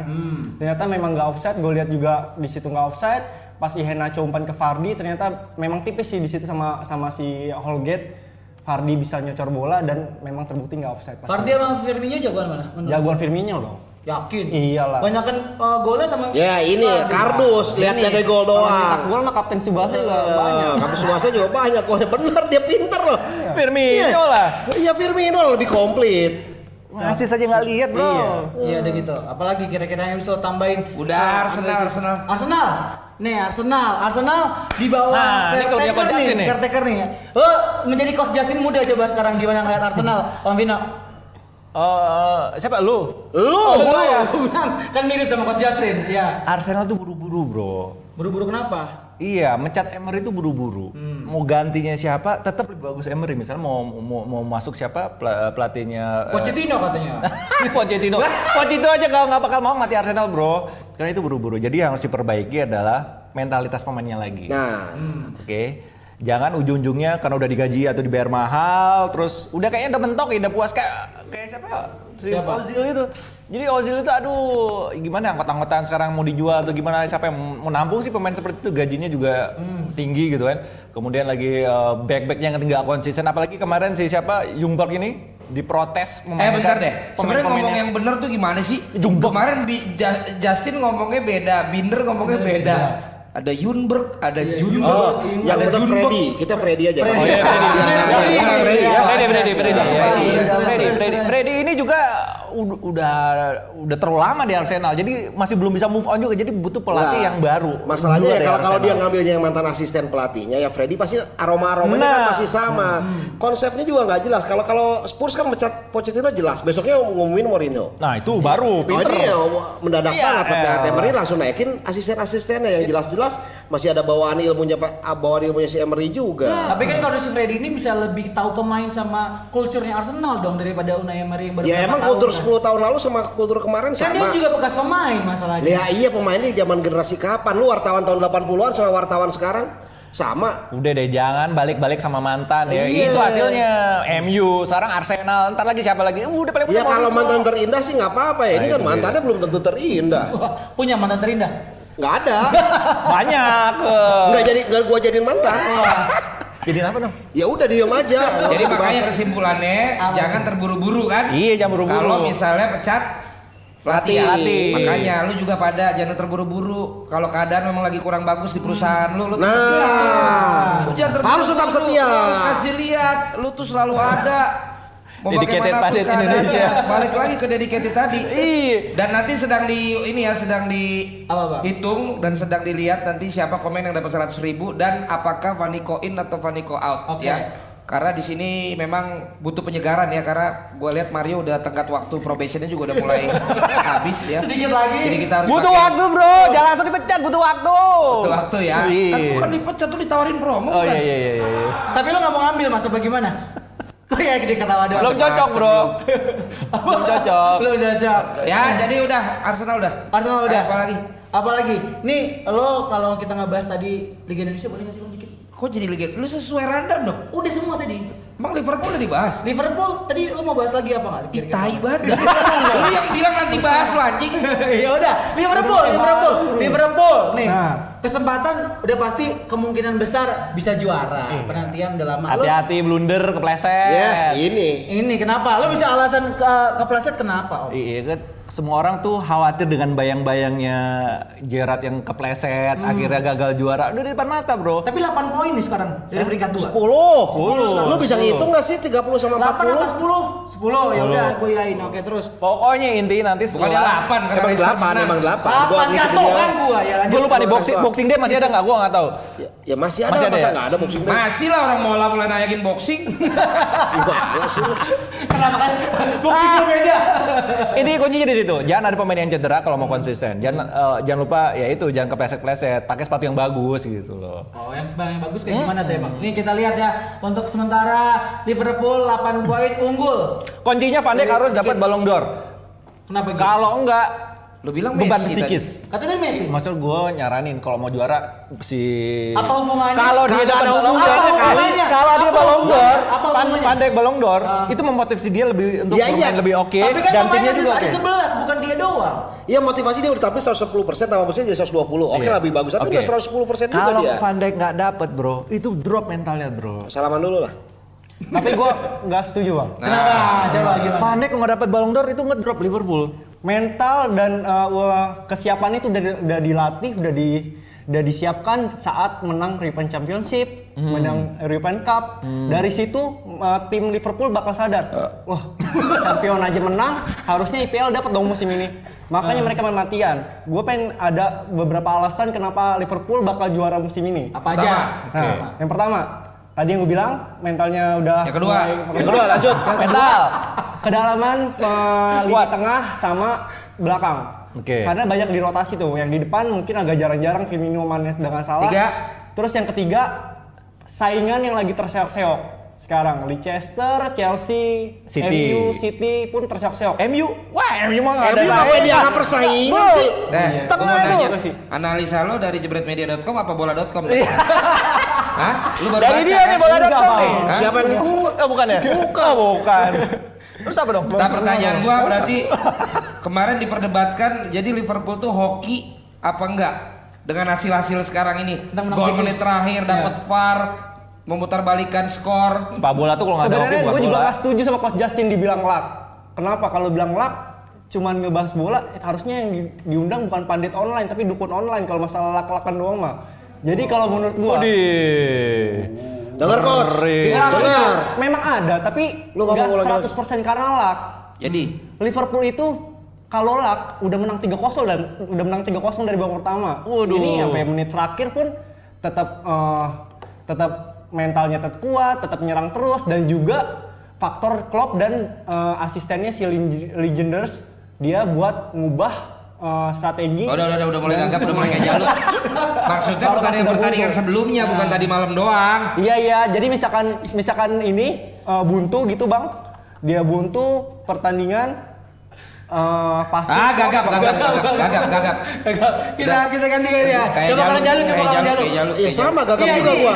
Ternyata memang nggak offside. Gue lihat juga di situ nggak offside. Pas Ihena umpan ke Fardi ternyata memang tipis sih di situ sama sama si Holgate. Fardi bisa nyocor bola dan memang terbukti nggak offside. pas.
Fardi sama Firmino jagoan mana? Menurut
Jagoan Firmino loh.
Yakin?
Iyalah.
Banyak kan golnya sama
Ya ini
Wah,
kardus, lihat
Ini,
ada gol
kalau nyetak
doang.
Gol mah kapten Subasa juga banyak.
Kamu Suasa juga banyak golnya. Bener dia pinter loh.
Firmino
Iya.
lah.
Iya Firmino lebih komplit.
Masih saja nggak lihat bro.
Iya udah gitu. Apalagi kira-kira yang bisa lo tambahin?
Udah,
Nah,
Arsenal,
Leicester.
Arsenal.
Arsenal. Nih Arsenal, Arsenal di bawah
Nah, ini kalau
caretaker
dia coach
nih,
Justin nih.
caretaker nih. Lo menjadi coach Justin muda coba sekarang gimana ngeliat Arsenal, Om Vino?
Eh, siapa lu?
Lu
Gua ya, gua bilang, kan mirip sama coach Justin. Iya.
Arsenal tuh buru-buru bro.
Buru-buru kenapa?
Iya, mencat Emery itu buru-buru. Mau gantinya siapa, tetap lebih bagus Emery. Misalnya mau mau, mau masuk siapa pela- pelatihnya eh,
Pochettino katanya.
Pochettino. Pochettino aja kalau nggak bakal mau mati Arsenal bro. Karena itu buru-buru. Jadi yang harus diperbaiki adalah mentalitas pemainnya lagi.
Nah,
Oke. Jangan ujung-ujungnya karena udah digaji atau dibayar mahal, terus udah kayaknya udah mentok ya, udah puas kayak kayak siapa? ya? Si
Siapa?
Ozil itu. Jadi Ozil itu aduh, gimana angkot-angkotan sekarang mau dijual atau gimana siapa yang mau nampung sih pemain seperti itu gajinya juga
Hmm.
tinggi gitu kan. Kemudian lagi eh, back-backnya yang nggak konsisten apalagi kemarin si siapa Jungberg ini diprotes
Eh bentar deh,
pemain-pemainnya.
sebenarnya ngomong yang bener tuh gimana sih?
Jungkok.
Kemarin Bi- Ja- Justin ngomongnya beda, Binder ngomongnya beda. Ada Yunberg, ada Junberg,
oh, yang
ada
bener
Junberg.
Freddy. Kita Freddy aja.
Freddy.
Oh, iya,
Freddy.
Biar
Freddy.
namanya. Kita Freddy ya.
Freddy, Freddy, Freddy,
Freddy, Freddy,
ya, ya.
Freddy,
Freddy,
Freddy,
Freddy, Freddy ini juga ud- udah udah terlalu lama di Arsenal, jadi masih belum bisa move on juga, jadi butuh pelatih
Nah,
yang baru.
Masalahnya
Dua
ya
dari
kalau kalau dia
Arsenal.
ngambilnya yang mantan asisten pelatihnya ya Freddy pasti aroma aromanya kan
Nah.
pasti sama. Konsepnya juga nggak jelas. Kalau kalau Spurs kan mecat Pochettino jelas. Besoknya ngumumin Mourinho.
Nah itu
Oh
baru, pinter.
ini ya mendadak
Iya,
banget Pak
elah.
Emery langsung naikin asisten-asistennya
Iya.
yang jelas-jelas masih ada bawaan ilmunya Pak ah, bawaan ilmunya si Emery juga.
Tapi kan kalau si Freddy ini bisa lebih tahu pemain sama kulturnya Arsenal dong daripada Unai Emery yang baru
Ya
berapa
emang
tahun
kultur
kan.
10 tahun lalu sama kultur kemarin
Kan dia
sama.
juga bekas pemain masalahnya.
Ya iya pemainnya zaman generasi kapan? Lu wartawan tahun 80-an sama wartawan sekarang sama.
Udah deh jangan balik-balik sama mantan ya.
Iya.
Itu hasilnya MU, sekarang Arsenal, ntar lagi siapa lagi? Udah paling
Ya
udah
kalau
Mourinho.
mantan terindah sih nggak apa-apa ya. Ini
Nah,
kan
itu
mantannya belum tentu terindah.
Wah, punya mantan terindah.
Nggak ada.
banyak. eh.
Nggak jadi nggak gua jadiin mantan.
Jadi apa dong?
Ya udah diem aja. Nggak
Jadi
usah dibahas.
makanya kesimpulannya
Apa?
jangan terburu-buru kan?
Iya, jangan buru-buru.
Kalau misalnya pecat pelatih,
Pelatih.
Pelatih. makanya lu juga pada jangan terburu-buru. Kalau keadaan memang lagi kurang bagus di perusahaan lu, lu tetap
Nah.
bisa. Lu jangan terburu-buru.
Harus tetap setia.
Lu harus kasih lihat, lu tuh selalu ada. Mau
Dedicated
bagaimanapun
Planet
keadaannya.
Indonesia.
Balik lagi ke dedicated tadi.
Iya.
Dan nanti sedang di ini ya sedang di
Apa, Pak?
hitung dan sedang dilihat nanti siapa komen yang dapat 100.000 ribu dan apakah Vaniko in atau Vaniko out
Oke.
ya. Karena di sini memang butuh penyegaran ya karena gue lihat Mario udah tenggat waktu probationnya juga udah mulai habis ya.
Sedikit lagi.
Jadi kita harus
Butuh
pakai-
waktu bro, jangan langsung dipecat, butuh waktu.
butuh waktu ya.
Iya.
Kan bukan dipecat tuh ditawarin promo
Oh
kan.
iya iya iya. iya.
Tapi lo nggak mau ambil masa bagaimana? Kok kayak gede ketawa doang?
Belum cocok bro. Belum cocok.
Belum cocok.
Ya, jadi udah Arsenal udah.
Arsenal udah.
Apalagi?
Apalagi? Nih, lo kalau kita ngebahas tadi Liga Indonesia boleh nggak sih lo dikit?
Kok jadi Liga? Lu sesuai random dong.
Udah semua tadi.
Emang Liverpool udah dibahas?
Liverpool tadi lu mau bahas lagi apa nggak?
Ih, tai banget. Lu yang bilang nanti bahas lu anjing.
ya udah Liverpool Liverpool Liverpool nih
Nah.
kesempatan udah pasti kemungkinan besar bisa juara penantian udah lama Lu-
Iya. Hati-hati blunder kepleset.
Iya,
Ya, ini.
ini kenapa lo bisa alasan ke kepleset kenapa om
Iya, kan semua orang tuh khawatir dengan bayang-bayangnya Gerard yang kepleset,
Hmm.
akhirnya gagal juara. Udah di depan mata, Bro.
tapi 8 poin nih sekarang dari peringkat 2
10.
10.
Lu bisa ngitung gak sih 30 sama
8 apa 10?
40?
10 ya udah gue yain oke terus
Pokoknya intinya nanti
Bukannya
setelah
8 karena
Emang
Leicester
8,
menang.
emang 8.
8 jatuh kan gua ya lanjut
Gue lupa nih
Gua
boxing,
langsung.
boxing dia masih ada nggak? Gue nggak tahu.
Ya, ya masih ada,
Masih ada
masa
ya?
nggak ada boxing day?
Masih lah orang mau mulai nayakin boxing.
Gimana Iya, sih lu?
kenapa kan
Ah.
boxingnya beda
Ini kuncinya di situ. Jangan ada pemain yang cedera kalau mau konsisten. Jangan eh, jangan lupa ya itu jangan kepleset-pleset. Pakai sepatu yang bagus gitu loh.
Oh, yang sebenarnya yang bagus kayak
Hmm.
gimana tuh emang? Nih kita lihat ya, untuk sementara Liverpool 8 poin unggul.
Kuncinya Van Dijk harus dapat Ballon d'Or.
Kenapa gitu?
Kalau enggak
Lu bilang
beban
Messi
psikis.
Katanya Messi.
Maksud gue nyaranin kalau mau juara si
Apa hubungannya?
Kalau dia
Kagak
dapat
ada
Ballon-
hubungannya
Apa
kali.
hubungannya? Ah. Kalau dia
Apa
Ballon d'Or,
hubungannya? Apa
Van
hubungannya?
Van Dijk Ballon d'Or, itu memotivasi dia lebih untuk
Iya, iya.
bermain lebih oke
Tapi kan
dan
pemainnya
timnya juga
ada
oke.
11, bukan dia doang.
Ya motivasi dia udah tampil 110% tambah boxing jadi 120. Oke
Iya.
lah lebih bagus, tapi
Oke.
udah 110% juga
Kalau
dia.
Van Dijk nggak dapet bro, itu drop mentalnya bro.
Salaman dulu lah.
Tapi gue nggak setuju bang.
Kenapa? Coba gimana?
Van Dijk kalau nggak dapet Ballon d'Or itu ngedrop Liverpool.
mental dan uh, wah, kesiapannya itu udah, udah dilatih, udah di udah disiapkan saat menang European Championship, menang European Cup. Dari situ uh, tim Liverpool bakal sadar, wah, champion aja menang, harusnya IPL dapat dong musim ini. Makanya mereka main matian. Gue pengen ada beberapa alasan kenapa Liverpool bakal juara musim ini.
Apa aja?
Nah, yang pertama, tadi yang gue bilang mentalnya udah
Yang kedua.
mulai-
Yang kedua lanjut.
mental kedalaman eh, lini
Squad.
tengah sama belakang
Oke.
karena banyak di rotasi tuh yang di depan mungkin agak jarang-jarang Firmino Manes dengan salah
Tiga.
terus yang ketiga saingan yang lagi terseok-seok sekarang Leicester, Chelsea,
City.
MU, City pun terseok-seok.
MU, wah MU mah nggak
Tapi
ada.
ngapain dianggap persaingan sih?
Eh,
Tengah
gua mau
tuh.
nanya,
Apa sih?
analisa lo dari jebretmedia.com apa bola.com? Hah? Lu baru
Iya. Dari
baca,
dia
kan?
eh,
nih bola
Enggak,
datang nih.
Bang.
Hah?
Siapa nih?
Oh bukan ya? Bukan. bukan. Terus apa dong?
Nah, pertanyaan gua berarti kemarin diperdebatkan jadi Liverpool tuh hoki apa enggak dengan hasil-hasil sekarang ini.
Menang-menang
Gol
tipis.
menit terakhir dapat
Iya.
VAR, memutarbalikan skor.
Sepak bola tuh kalau nggak ada hoki
Sebenarnya
bukan
gue juga
bola.
gak setuju sama Coach Justin dibilang lak. Kenapa kalau bilang lak cuman ngebahas bola eh, harusnya yang di- diundang bukan pandit online tapi dukun online kalau masalah lak-lakan doang mah. Jadi kalau menurut gua
Waduh.
Dengar coach.
Dengar,
Dengar.
memang ada tapi
Lu ngomong
nggak
ulang,
100% karena lak.
Jadi
Liverpool itu kalau lak udah menang 3-0 dan udah menang 3-0 dari babak pertama.
Waduh.
Ini sampai menit terakhir pun tetap eh, tetap mentalnya tetap kuat, tetap nyerang terus dan juga faktor Klopp dan eh, asistennya si Ling- Legenders dia buat ngubah eh, strategi.
Oh, udah, udah, udah, udah mulai
dan-
gagap, udah mulai kayak jalur. Maksudnya
Baru
pertandingan
kasih
pertandingan
bubur.
sebelumnya, bukan tadi malam doang.
Iya iya, jadi misalkan misalkan ini eh, buntu gitu bang, dia buntu pertandingan eh, pasti.
Ah, gagap, gagap, gagap, gagap, gagap.
Kita kita ganti kali ya.
Kayak
Coba kalau jalur, coba
kayak jalur,
kalau jalur.
kayak jalur.
Iya
kayak
sama
jalur.
gagap
Iya,
juga
ini.
gua.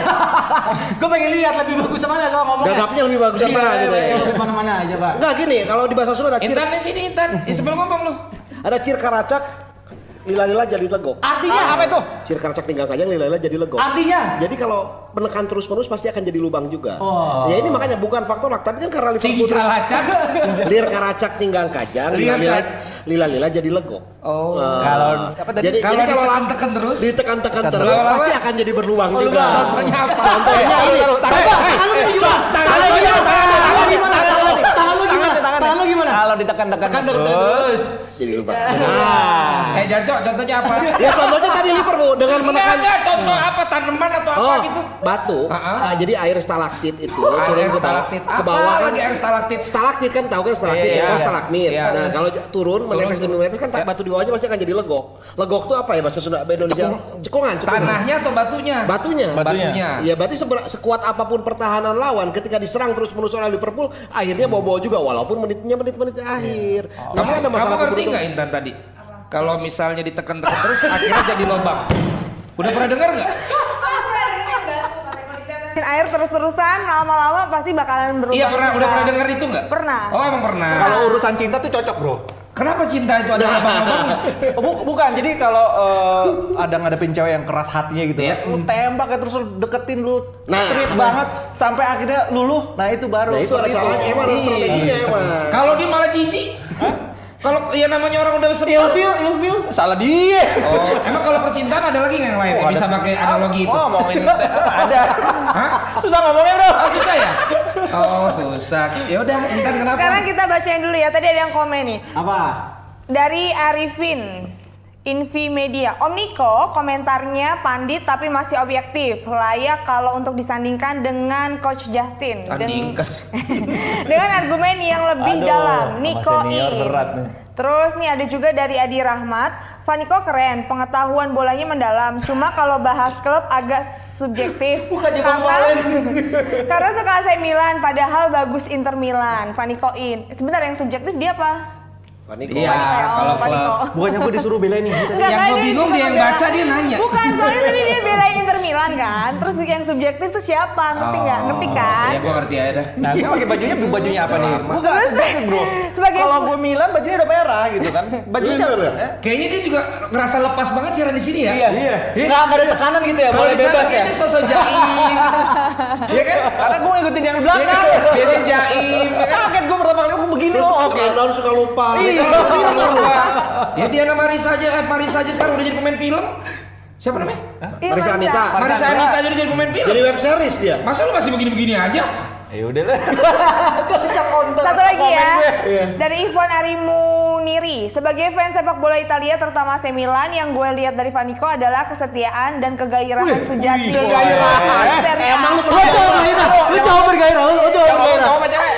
Gue pengen lihat lebih bagus mana kalau ngomongnya.
Gagapnya lebih bagus
Iya,
mana gitu
iya,
ya.
Bagus mana-mana coba.
Enggak gini, kalau di bahasa Sunda ada cir,
Intan di sini, Intan. Ya, sebelum ngomong lu.
ada cir karacak, lila-lila jadi legok.
Artinya apa itu?
Cir karacak pinggang kajang, lila-lila jadi legok.
Artinya
Jadi kalau menekan terus-menerus pasti akan jadi lubang juga.
Oh.
Ya ini makanya bukan faktor lak, tapi kan karena Liverpool
Cincin
terus
lacak.
lir karacak tinggang kajang,
Lir
lila-lila
kar-
lila-lila jadi legok.
Oh.
Nah,
Kalau- apa tadi?
Kalau
jadi jadi kalau lak-
ditekan-tekan terus?
ditekan-tekan terus,
terus. Oh,
pasti akan jadi berlubang juga.
Contohnya apa?
Contohnya ini.
tangan lu gimana? Eh, Tangan lu gimana? Tangan lu gimana? Tangan lu gimana? Tangan lu gimana?
Kalau ditekan-tekan
Tekan, tekan, tekan,
terus.
Jadi lubang.
Eh, Jancok, contohnya apa?
Ya contohnya tadi Liverpool dengan
Enggak,
menekan
enggak, contoh apa? Tanaman atau apa
Oh,
gitu?
batu.
Ah, ah.
Ah, jadi air stalaktit itu
Air
turun ke bawah.
stalaktit.
Ke
Apa
bawah kan
lagi air stalaktit?
Stalaktit kan tahu kan stalaktit
Iya,
ya,
iya.
stalagmit.
Iya. Ya.
Nah, kalau j- turun menetes demi menetes kan tak batu di bawahnya pasti akan jadi legok. Legok tuh apa ya bahasa Sunda bahasa Indonesia? Cekungan, cekungan.
Tanahnya atau batunya?
Batunya.
Batunya.
Batunya.
Ya berarti seber- sekuat apapun pertahanan lawan ketika diserang terus menerus oleh Liverpool akhirnya bawa-bawa juga walaupun menitnya menit-menit akhir.
Iya.
Tapi
Kamu,
ada
kamu
masalah
ngerti
keberuntungan.
nggak Intan tadi? Kalau misalnya ditekan-tekan terus, akhirnya jadi lubang. Udah pernah dengar nggak?
Kamu pernah dengar nggak tuh kategori ngeliatin air terus-terusan lama-lama pasti bakalan berubah.
Iya pernah,
juga.
udah pernah denger itu nggak?
Pernah.
Oh emang pernah.
Kalau urusan cinta tuh cocok bro.
Kenapa cinta itu ada abang-abang?
Bu- bukan, jadi kalau eh, ada ngadepin cewek yang keras hatinya gitu
Iya.
ya, lu tembak ya terus lu deketin lu,
Nah,
treat
nah.
banget sampai akhirnya luluh. Nah itu baru.
Nah itu ada
seperti
salahnya emang ada
Iya.
strateginya emang.
Kalau dia malah jijik. Kalau ya namanya orang udah
Iya.
sebel.
Ilfil, ilfil.
Salah dia.
Oh, emang kalau percintaan ada lagi nggak yang lain yang bisa pakai analogi itu?
Oh, ngomongin ada.
Hah?
Susah ngomongnya bro.
Oh, susah ya? Oh, susah. Ya udah, Intan kenapa?
Sekarang kita bacain dulu ya. Tadi ada yang komen nih.
Apa?
Dari Arifin Invi Media. Om Niko komentarnya pandit tapi masih objektif. Layak kalau untuk disandingkan dengan Coach Justin. Den-
Tandingkan.
dengan argumen yang lebih
Aduh,
dalam.
sama
Niko
senior
in.
berat nih.
Terus nih ada juga dari Adi Rahmat, Vaniko keren, pengetahuan bolanya mendalam. Cuma kalau bahas klub agak subjektif.
Bukan Jepang
karena suka AC Milan, padahal bagus Inter Milan. Vaniko in. Sebentar yang subjektif dia apa?
Fani kok.
Iya, kalau
Vaniko.
kalau
Nah, Bukannya gue disuruh belain nih.
Yang
Enggak,
gua
kan dia
bingung
suka
dia yang
bela-
baca, dia nanya.
Bukan, soalnya tadi dia belain Inter Milan kan. Terus yang subjektif tuh siapa? Ngerti nggak? Ngerti
Oh,
kan?
iya,
Ya gua ngerti aja dah.
Nah, gue pakai bajunya bajunya apa nih? Bukan, bukan, bro.
sebagai-
Kalau gue Milan bajunya udah merah gitu kan. Bajunya
Bener ya?
eh,
Kayaknya dia juga ngerasa lepas banget siaran di sini ya.
Iya.
Enggak enggak ada tekanan gitu ya,
Kalau
boleh
di sana
bebas ya.
kayaknya sosok jaim. Iya kan?
Karena gue ngikutin yang
Iya kan?
belakang.
Biasanya jaim. ya kan?
Kaget gue pertama kali gue begini.
Terus
oh,
suka
oke.
down suka lupa.
Iya.
Sekarang pinter lu.
Ya Diana Marisa aja, eh, Marisa aja sekarang udah jadi pemain film. Siapa namanya?
Iya,
Marisa
Marisa.
Anita.
Marisa Anita aja udah jadi pemain film.
Jadi web series dia.
Masa lu masih begini-begini aja?
Ya udah lah.
Bisa counter.
Satu lagi ya, dari Ivan Arimuniri. Sebagai fans sepak bola Italia, terutama AC Milan, yang gue lihat dari Vaniko adalah kesetiaan dan kegairahan sejati.
kegairahan.
Serius.
Emang lu
Lu coba bergairah, lu coba bergairah, lu coba bergairah.
Cowok apa cewek?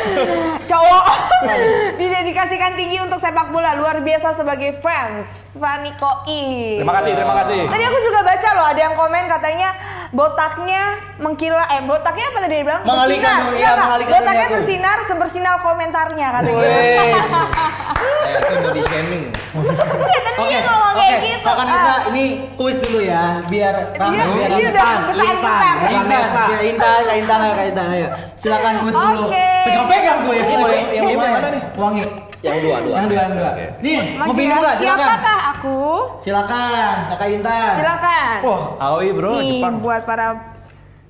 cowok didedikasikan tinggi untuk sepak bola luar biasa sebagai fans Vaniko I.
Terima kasih, terima kasih.
Tadi aku juga baca loh ada yang komen katanya botaknya mengkilat eh botaknya apa tadi dia bilang
Mengalihkan
Bersinar.
dunia,
Iya, Kak.
mengalihkan
botaknya
duniaku.
bersinar sebersinar komentarnya katanya.
Wes.
Eh, itu body shaming.
Iya, tapi
Oke,
dia ngomong
oke.
kayak gitu.
Kakak Nisa,
Ah.
ini kuis dulu ya, biar
Dia,
ramai, biar
dia udah
ramai.
Intan,
bertahan-tahan.
Intan.
Intan,
Vanessa.
ya Intan, Kak Intan, ayo, Kak Intan, ayo. Silakan kuis dulu.
Oke. Iya,
Pegang-pegang gue ya.
Oh, yang- yang
Gimana?
mana nih?
Wangi.
Yang dua dua.
Yang dua, yang dua.
Oke.
Nih,
Makin
ngopi dulu nggak? Silakan.
Siapakah aku?
Silakan, Oh, Kakak Intan.
Silakan.
Wah, Aoi bro,
Nih
Jepang.
buat para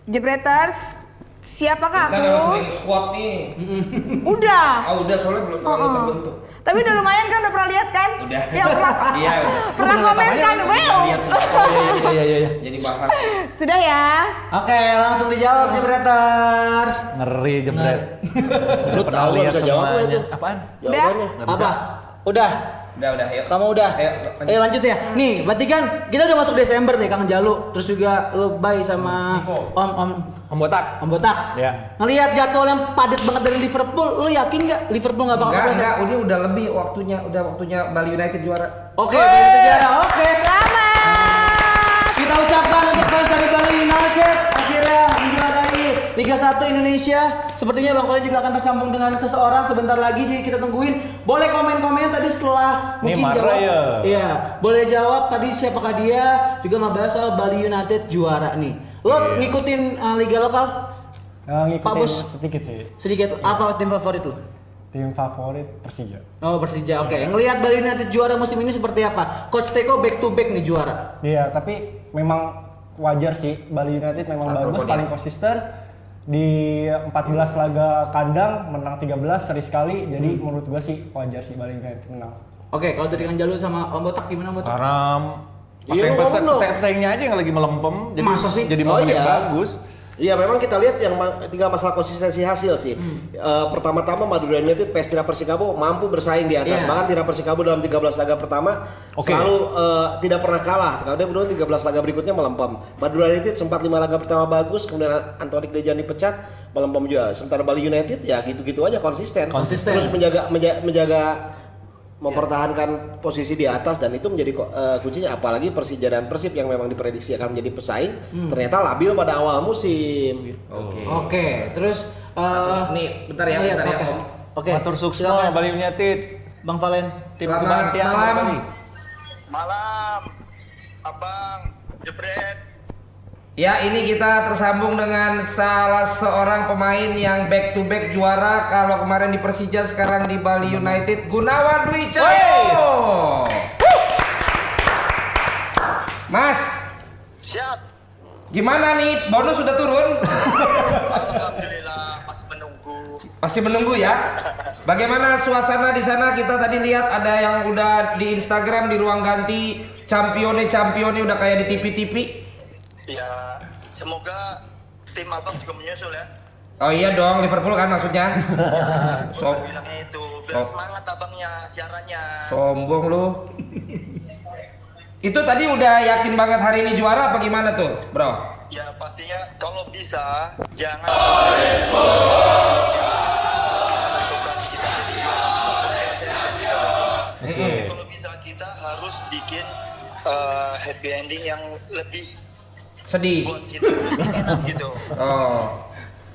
jebreters siapakah
Kita memang sering
aku?
squat nih.
Udah.
Ah udah soalnya belum terlalu
Oh, oh.
terbentuk.
Tapi udah lumayan kan udah pernah lihat kan?
Udah.
Ya, pernah,
Iya. udah.
pernah komen kan? Wow.
Kita Lihat sudah.
Iya, iya, iya, iya.
Jadi bahas.
Sudah ya.
Oke, langsung dijawab Jebreters.
Ngeri jebret.
Lu tahu nggak bisa jawab lu itu.
Apaan?
Jawabannya.
Nggak bisa.
Apa? Udah.
Udah udah yuk.
Kamu udah?
Ayo, lanjut.
Ayo lanjut ya. Nih, berarti kan kita udah masuk Desember nih Kang Jalu, terus juga lebay sama Om Om
Membotak.
Om Botak.
Iya.
Ngelihat jadwal yang padat banget dari Liverpool, lu yakin nggak Liverpool nggak bakal
Enggak,
lolos?
enggak, udah udah lebih waktunya, udah waktunya Bali United juara.
Oke, Bali Sejarah. Oke.
Selamat.
Kita ucapkan untuk fans dari Bali United akhirnya menjuarai Liga 1 Indonesia. Sepertinya Bang Koli juga akan tersambung dengan seseorang sebentar lagi. Jadi kita tungguin. Boleh komen-komennya tadi setelah
Ini
mungkin
Marra
jawab.
ya?
Iya, boleh jawab tadi siapakah dia. Juga ngebahas soal Bali United juara nih. Lo ngikutin uh, liga lokal Pak
Eh, ngikutin
Bos.
sedikit sih.
sedikit apa tim favorit lo?
Tim favorit Persija.
Oh Persija, oke.
Iya.
Ngelihat Bali United juara musim ini seperti apa? Coach Teko back to back nih juara.
Iya, tapi memang wajar sih Bali United memang
Takut
bagus,
kok dia.
paling konsisten di 14 laga kandang menang 13 seri sekali. Jadi
Hmm.
menurut gua sih wajar sih Bali United menang.
Oke, kalau dari Kang Jalu sama Om Botak gimana Om Botak?
Ah.
Karena
Iya,
peseng
lu ngomong dong.
pesaingnya aja yang lagi melempem. Jadi,
Masa sih?
Jadi
Oh,
momen yang
iya.
bagus.
Iya memang kita lihat yang ma- tinggal masalah konsistensi hasil sih.
Hmm.
Eh, pertama-tama Madura United PS Tira Persikabo mampu bersaing di atas.
Iya.
Bahkan Tira Persikabo dalam 13 laga pertama
Oke.
selalu eh, tidak pernah kalah. Karena dia beruntung 13 laga berikutnya melempem. Madura United sempat 5 laga pertama bagus, kemudian Antonik Dejan dipecat, melempem juga. Sementara Bali United ya gitu-gitu aja konsisten.
Konsisten.
Terus menjaga menja- menjaga mempertahankan posisi di atas dan itu menjadi ko- eh, kuncinya apalagi Persija dan Persib yang memang diprediksi akan menjadi pesaing
Hmm.
ternyata labil pada awal musim.
Oke.
Oke, terus eh
Nih, bentar ya,
lihat,
bentar ya,
oke.
Om.
Oke.
Matur sukses
silakan. Iya
Bali United.
Bang Valen.
Tim
Selamat
kebangkitan
malam.
Bali.
Malam, Abang Jebret.
Ya ini kita tersambung dengan salah seorang pemain yang back to back juara kalau kemarin di Persija sekarang di Bali United Gunawan Dwi Cahyo. Mas,
Siap.
gimana nih bonus sudah turun?
Alhamdulillah masih menunggu.
Masih menunggu ya. Bagaimana suasana di sana? Kita tadi lihat ada yang udah di Instagram di ruang ganti campione campione udah kayak di TV-TV.
Ya, semoga tim Abang juga menyusul ya.
Oh iya dong Liverpool kan maksudnya.
So,
So-
bilangnya itu biar
so-
semangat abangnya siarannya.
Sombong lu. Itu tadi udah yakin banget hari ini juara apa gimana tuh, Bro?
Ya pastinya kalau bisa jangan menentukan kita jadi juara misalkan ya, saya tidak tidak menentukan. Tapi kalau bisa kita harus bikin eh, happy ending yang lebih
Sedih.
buat kita lebih enak gitu.
Oh.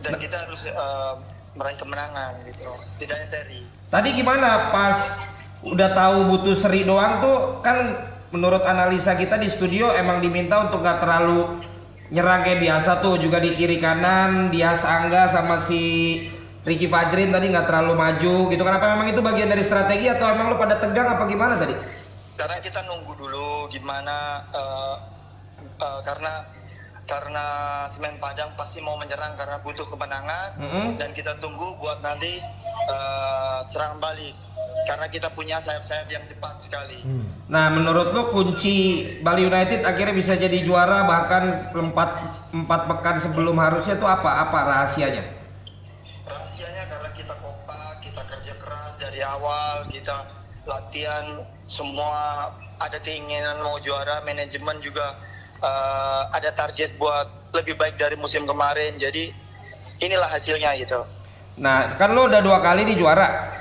Dan kita harus eh, meraih kemenangan gitu. Setidaknya seri.
Tadi gimana pas udah tahu butuh seri doang tuh kan menurut analisa kita di studio emang diminta untuk gak terlalu nyerang kayak biasa tuh juga di kiri kanan Dias Angga sama si Ricky Fajrin tadi nggak terlalu maju gitu kenapa memang itu bagian dari strategi atau emang lu pada tegang apa gimana tadi?
karena kita nunggu dulu gimana eh, eh, karena karena semen padang pasti mau menyerang karena butuh kemenangan
Mm-mm.
dan kita tunggu buat nanti eh, serang balik karena kita punya sayap-sayap yang cepat sekali
Nah, menurut lo kunci Bali United akhirnya bisa jadi juara bahkan empat, empat pekan sebelum harusnya tuh apa? Apa rahasianya?
rahasianya karena kita kompak kita kerja keras dari awal kita latihan semua ada keinginan mau juara manajemen juga eh, ada target buat lebih baik dari musim kemarin jadi inilah hasilnya gitu
Nah, kan lo udah dua kali di juara.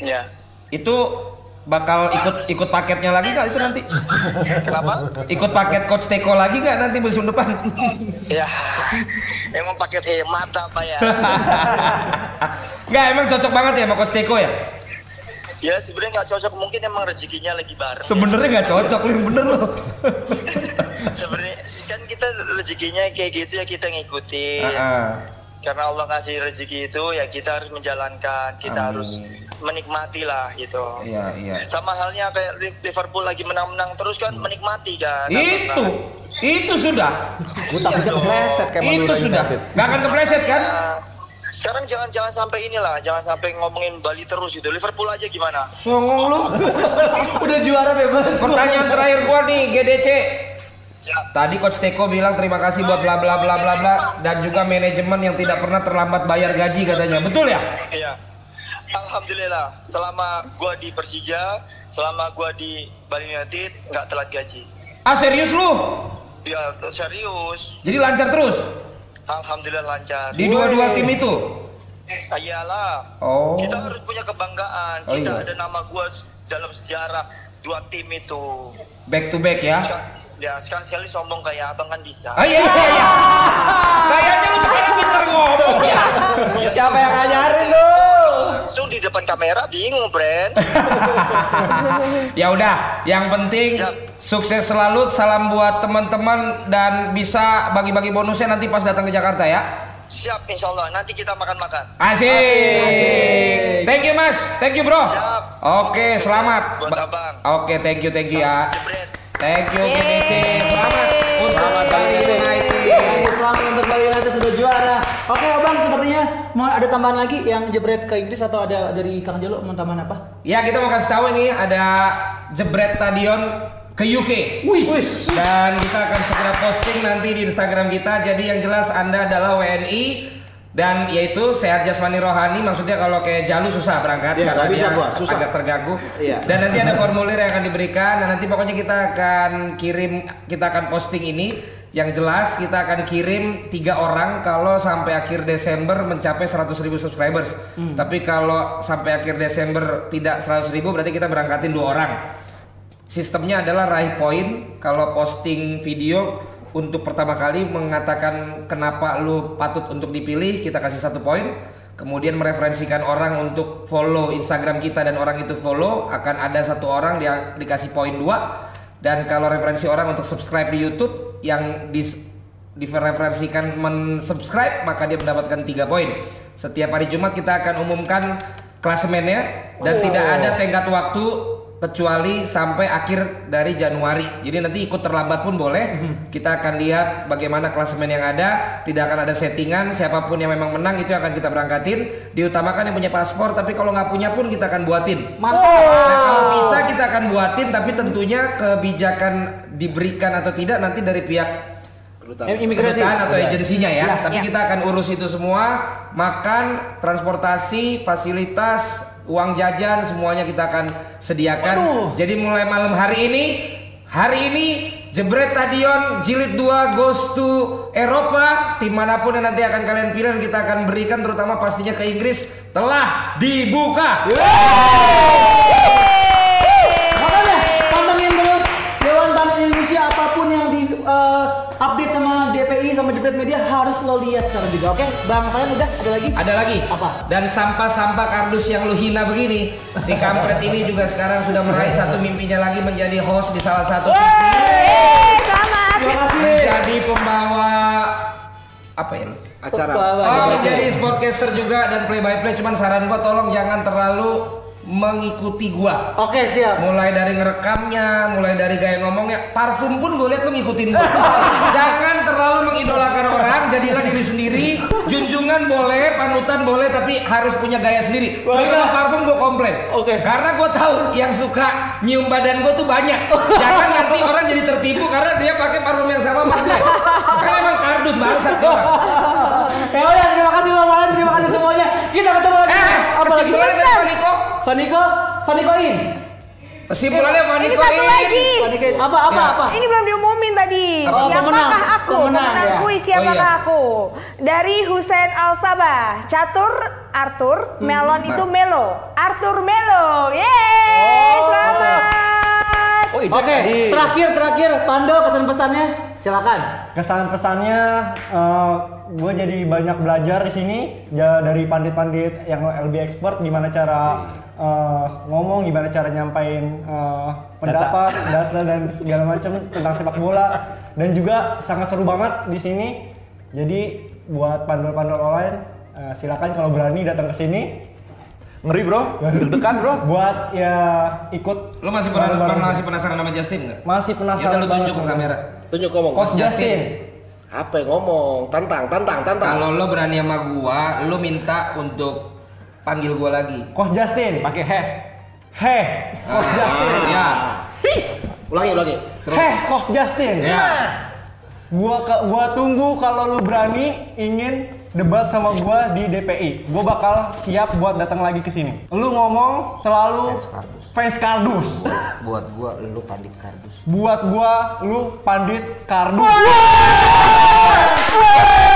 Ya.
Itu bakal ikut ikut paketnya lagi kali itu nanti?
Kenapa?
Ikut paket coach Teko lagi gak nanti musim depan?
ya. Emang paket hemat apa ya?
Nggak, emang cocok banget ya sama coach Teko ya?
ya sebenarnya nggak cocok. Mungkin emang rezekinya lagi bareng. ya.
Sebenarnya nggak cocok lo yang bener lo.
sebenarnya kan kita rezekinya kayak gitu ya kita ngikutin.
Ah,
Karena Allah ngasih rezeki itu ya kita harus menjalankan. Kita
Amin.
harus menikmati
ah.
lah gitu.
Iya, iya. Hmm.
Sama halnya kayak Liverpool lagi menang-menang terus kan menikmati kan.
Itu, itu sudah.
Gue takutnya kepleset kayak
Itu
Madura
sudah.
gitu.
United.
Nggak akan kepleset kan?
Ya, sekarang jangan jangan sampai inilah, jangan sampai ngomongin Bali terus gitu. Liverpool aja gimana?
Songong lu.
Udah juara bebas.
Pertanyaan terakhir gua nih GDC.
Ya,
Tadi coach Teko bilang terima kasih buat bla bla bla bla bla dan juga manajemen yang tidak pernah terlambat bayar gaji katanya. Betul ya?
Iya. Alhamdulillah, selama gua di Persija, selama gua di Bali United nggak telat gaji.
Ah serius lu?
Ya serius,
Jadi lancar terus
alhamdulillah lancar.
di dua-dua tim itu.
Eh, ah, Iyalah,
Oh.
kita harus punya kebanggaan.
Oh,
Kita
iya.
ada nama gua s- dalam sejarah dua tim itu.
Back to back ya.
Sekal- Ya sekali-sekali sombong kayak abang kan bisa.
Ah iya iya. iya. Kayaknya lu sekarang pintar ngomong
Iya.
ya.
Siapa yang ngajarin lu?
Langsung di depan kamera bingung, Bren.
ya udah, yang penting
Siap.
sukses selalu. Salam buat teman-teman dan bisa bagi-bagi bonusnya nanti pas datang ke Jakarta ya.
Siap, insya Allah. Nanti kita makan-makan.
Asik. Thank you Mas, thank you Bro.
Siap.
Oke, selamat.
Buat abang.
Oke, thank you, thank you ya.
Jebret.
Thank you GDC. Selamat ya, untuk Bali United.
Oke, Selamat untuk Bali United sudah juara. Oke, Bang, sepertinya mau ada tambahan lagi yang jebret ke Inggris atau ada dari Kang Jelo mau tambahan apa?
Ya, kita mau kasih tahu ini ada jebret stadion ke UK. Dan kita akan segera posting nanti di Instagram kita. Jadi yang jelas Anda adalah WNI dan yaitu sehat jasmani rohani maksudnya kalau kayak Jalu susah berangkat
Iya,
karena
nggak bisa
dia
gua, susah.
agak terganggu.
Iya.
Dan nanti ada formulir yang akan diberikan dan nanti pokoknya kita akan kirim kita akan posting ini yang jelas kita akan kirim tiga orang kalau sampai akhir Desember mencapai 100.000 ribu subscribers. Tapi kalau sampai akhir Desember tidak 100.000 ribu berarti kita berangkatin dua orang. Sistemnya adalah raih poin kalau posting video untuk pertama kali mengatakan kenapa lu patut untuk dipilih kita kasih satu poin kemudian mereferensikan orang untuk follow Instagram kita dan orang itu follow akan ada satu orang yang dikasih poin dua dan kalau referensi orang untuk subscribe di YouTube yang di direferensikan mensubscribe maka dia mendapatkan 3 poin. Setiap hari Jumat kita akan umumkan klasemennya dan tidak ada tenggat waktu kecuali sampai akhir dari Januari. Jadi nanti ikut terlambat pun boleh. Kita akan lihat bagaimana klasemen yang ada, tidak akan ada settingan, siapapun yang memang menang itu akan kita berangkatin. Diutamakan yang punya paspor, tapi kalau nggak punya pun kita akan buatin. Nah, kalau visa kita akan buatin, tapi tentunya kebijakan diberikan atau tidak nanti dari pihak
Kedutaan.
Imigrasi.
kedutaan atau agensinya ya.
Ya.
Tapi kita akan urus itu semua, makan, transportasi, fasilitas, uang jajan, semuanya kita akan sediakan. Jadi mulai malam hari ini, hari ini Jebret Tadion Jilid 2 goes to Eropa Tim manapun yang nanti akan kalian pilih dan kita akan berikan terutama pastinya ke Inggris telah dibuka
Makanya ya? pantengin terus Dewan Tanah Indonesia apapun yang di eh, update sama DPI sama Jepret Media harus lo lihat sekarang juga. Oke, Bang kalian udah ada lagi?
Ada lagi?
Apa?
Dan sampah-sampah kardus yang lu hina begini, si kampret ini juga sekarang sudah meraih satu mimpinya lagi menjadi host di salah satu
Yeay, selamat.
Terima kasih.
menjadi pembawa apa ya? lu?
Acara.
Bawa-
Oh, menjadi sportcaster juga dan play by play cuman saran gua tolong jangan terlalu mengikuti gua.
Oke, siap.
Mulai dari ngerekamnya, mulai dari gaya ngomongnya, parfum pun gue liat lu ngikutin gua. Jangan terlalu mengidolakan orang, jadilah diri sendiri. Junjungan boleh, panutan boleh, tapi harus punya gaya sendiri. Kalau parfum gue komplain.
Oke.
Karena gue tahu yang suka nyium badan gue tuh banyak. Jangan nanti orang jadi tertipu karena dia pakai parfum yang sama sama dia. Karena emang kardus bangsat dia orang.
Ya udah, terima kasih Bang Valen, terima kasih semuanya. Kita ketemu lagi.
Eh,
Apa lagi?
kesimpulannya kan Faniko?
Vaniko, Vaniko in.
Kesimpulannya
Ini
Faniko
satu lagi.
Vaniko in. Apa apa apa?
Ini belum diumumin tadi.
Oh,
siapakah
pemenang.
aku?
Pemenang,
Pemenangku
ya.
siapakah
Oh, iya.
aku? Dari Husain Al Sabah, Catur Arthur,
Hmm.
Melon itu
Nah.
Melo, Arthur Melo. Yeay,
Oh.
selamat.
Oh, itu
Oke,
tadi.
terakhir terakhir Pando kesan pesannya silakan.
Kesan pesannya gue eh, jadi banyak belajar di sini ja- dari pandit-pandit yang LB expert gimana cara eh, ngomong, gimana cara nyampain eh, pendapat, data dan segala macam tentang sepak bola dan juga sangat seru banget di sini. Jadi buat pandol-pandol online eh, silakan kalau berani datang ke sini
Ngeri bro, deg-degan bro.
buat ya ikut
Lu masih pernah
bareng-bareng.
masih penasaran sama Justin nggak? Ya udah
masih ya. penasaran
lu tunjuk ke
banget.
kamera.
Tunjuk ngomong.
Coach Justin.
Apa yang ngomong? Tantang, tantang, tantang.
Kalau lo berani sama gua, lo minta untuk panggil gua lagi.
Coach Justin
Pakai heh.
heh Coach Oh, Justin
Ya.
Ulangi, ulangi.
Terus.
Heh, Coach Justin.
Ya.
Nah. Gua ke- gua tunggu kalau lu berani ingin debat sama gua di DPI. Gua bakal siap buat datang lagi ke sini. Lu ngomong selalu
Fans kardus.
fans kardus.
Buat gua lu pandit kardus.
Buat gua lu pandit kardus.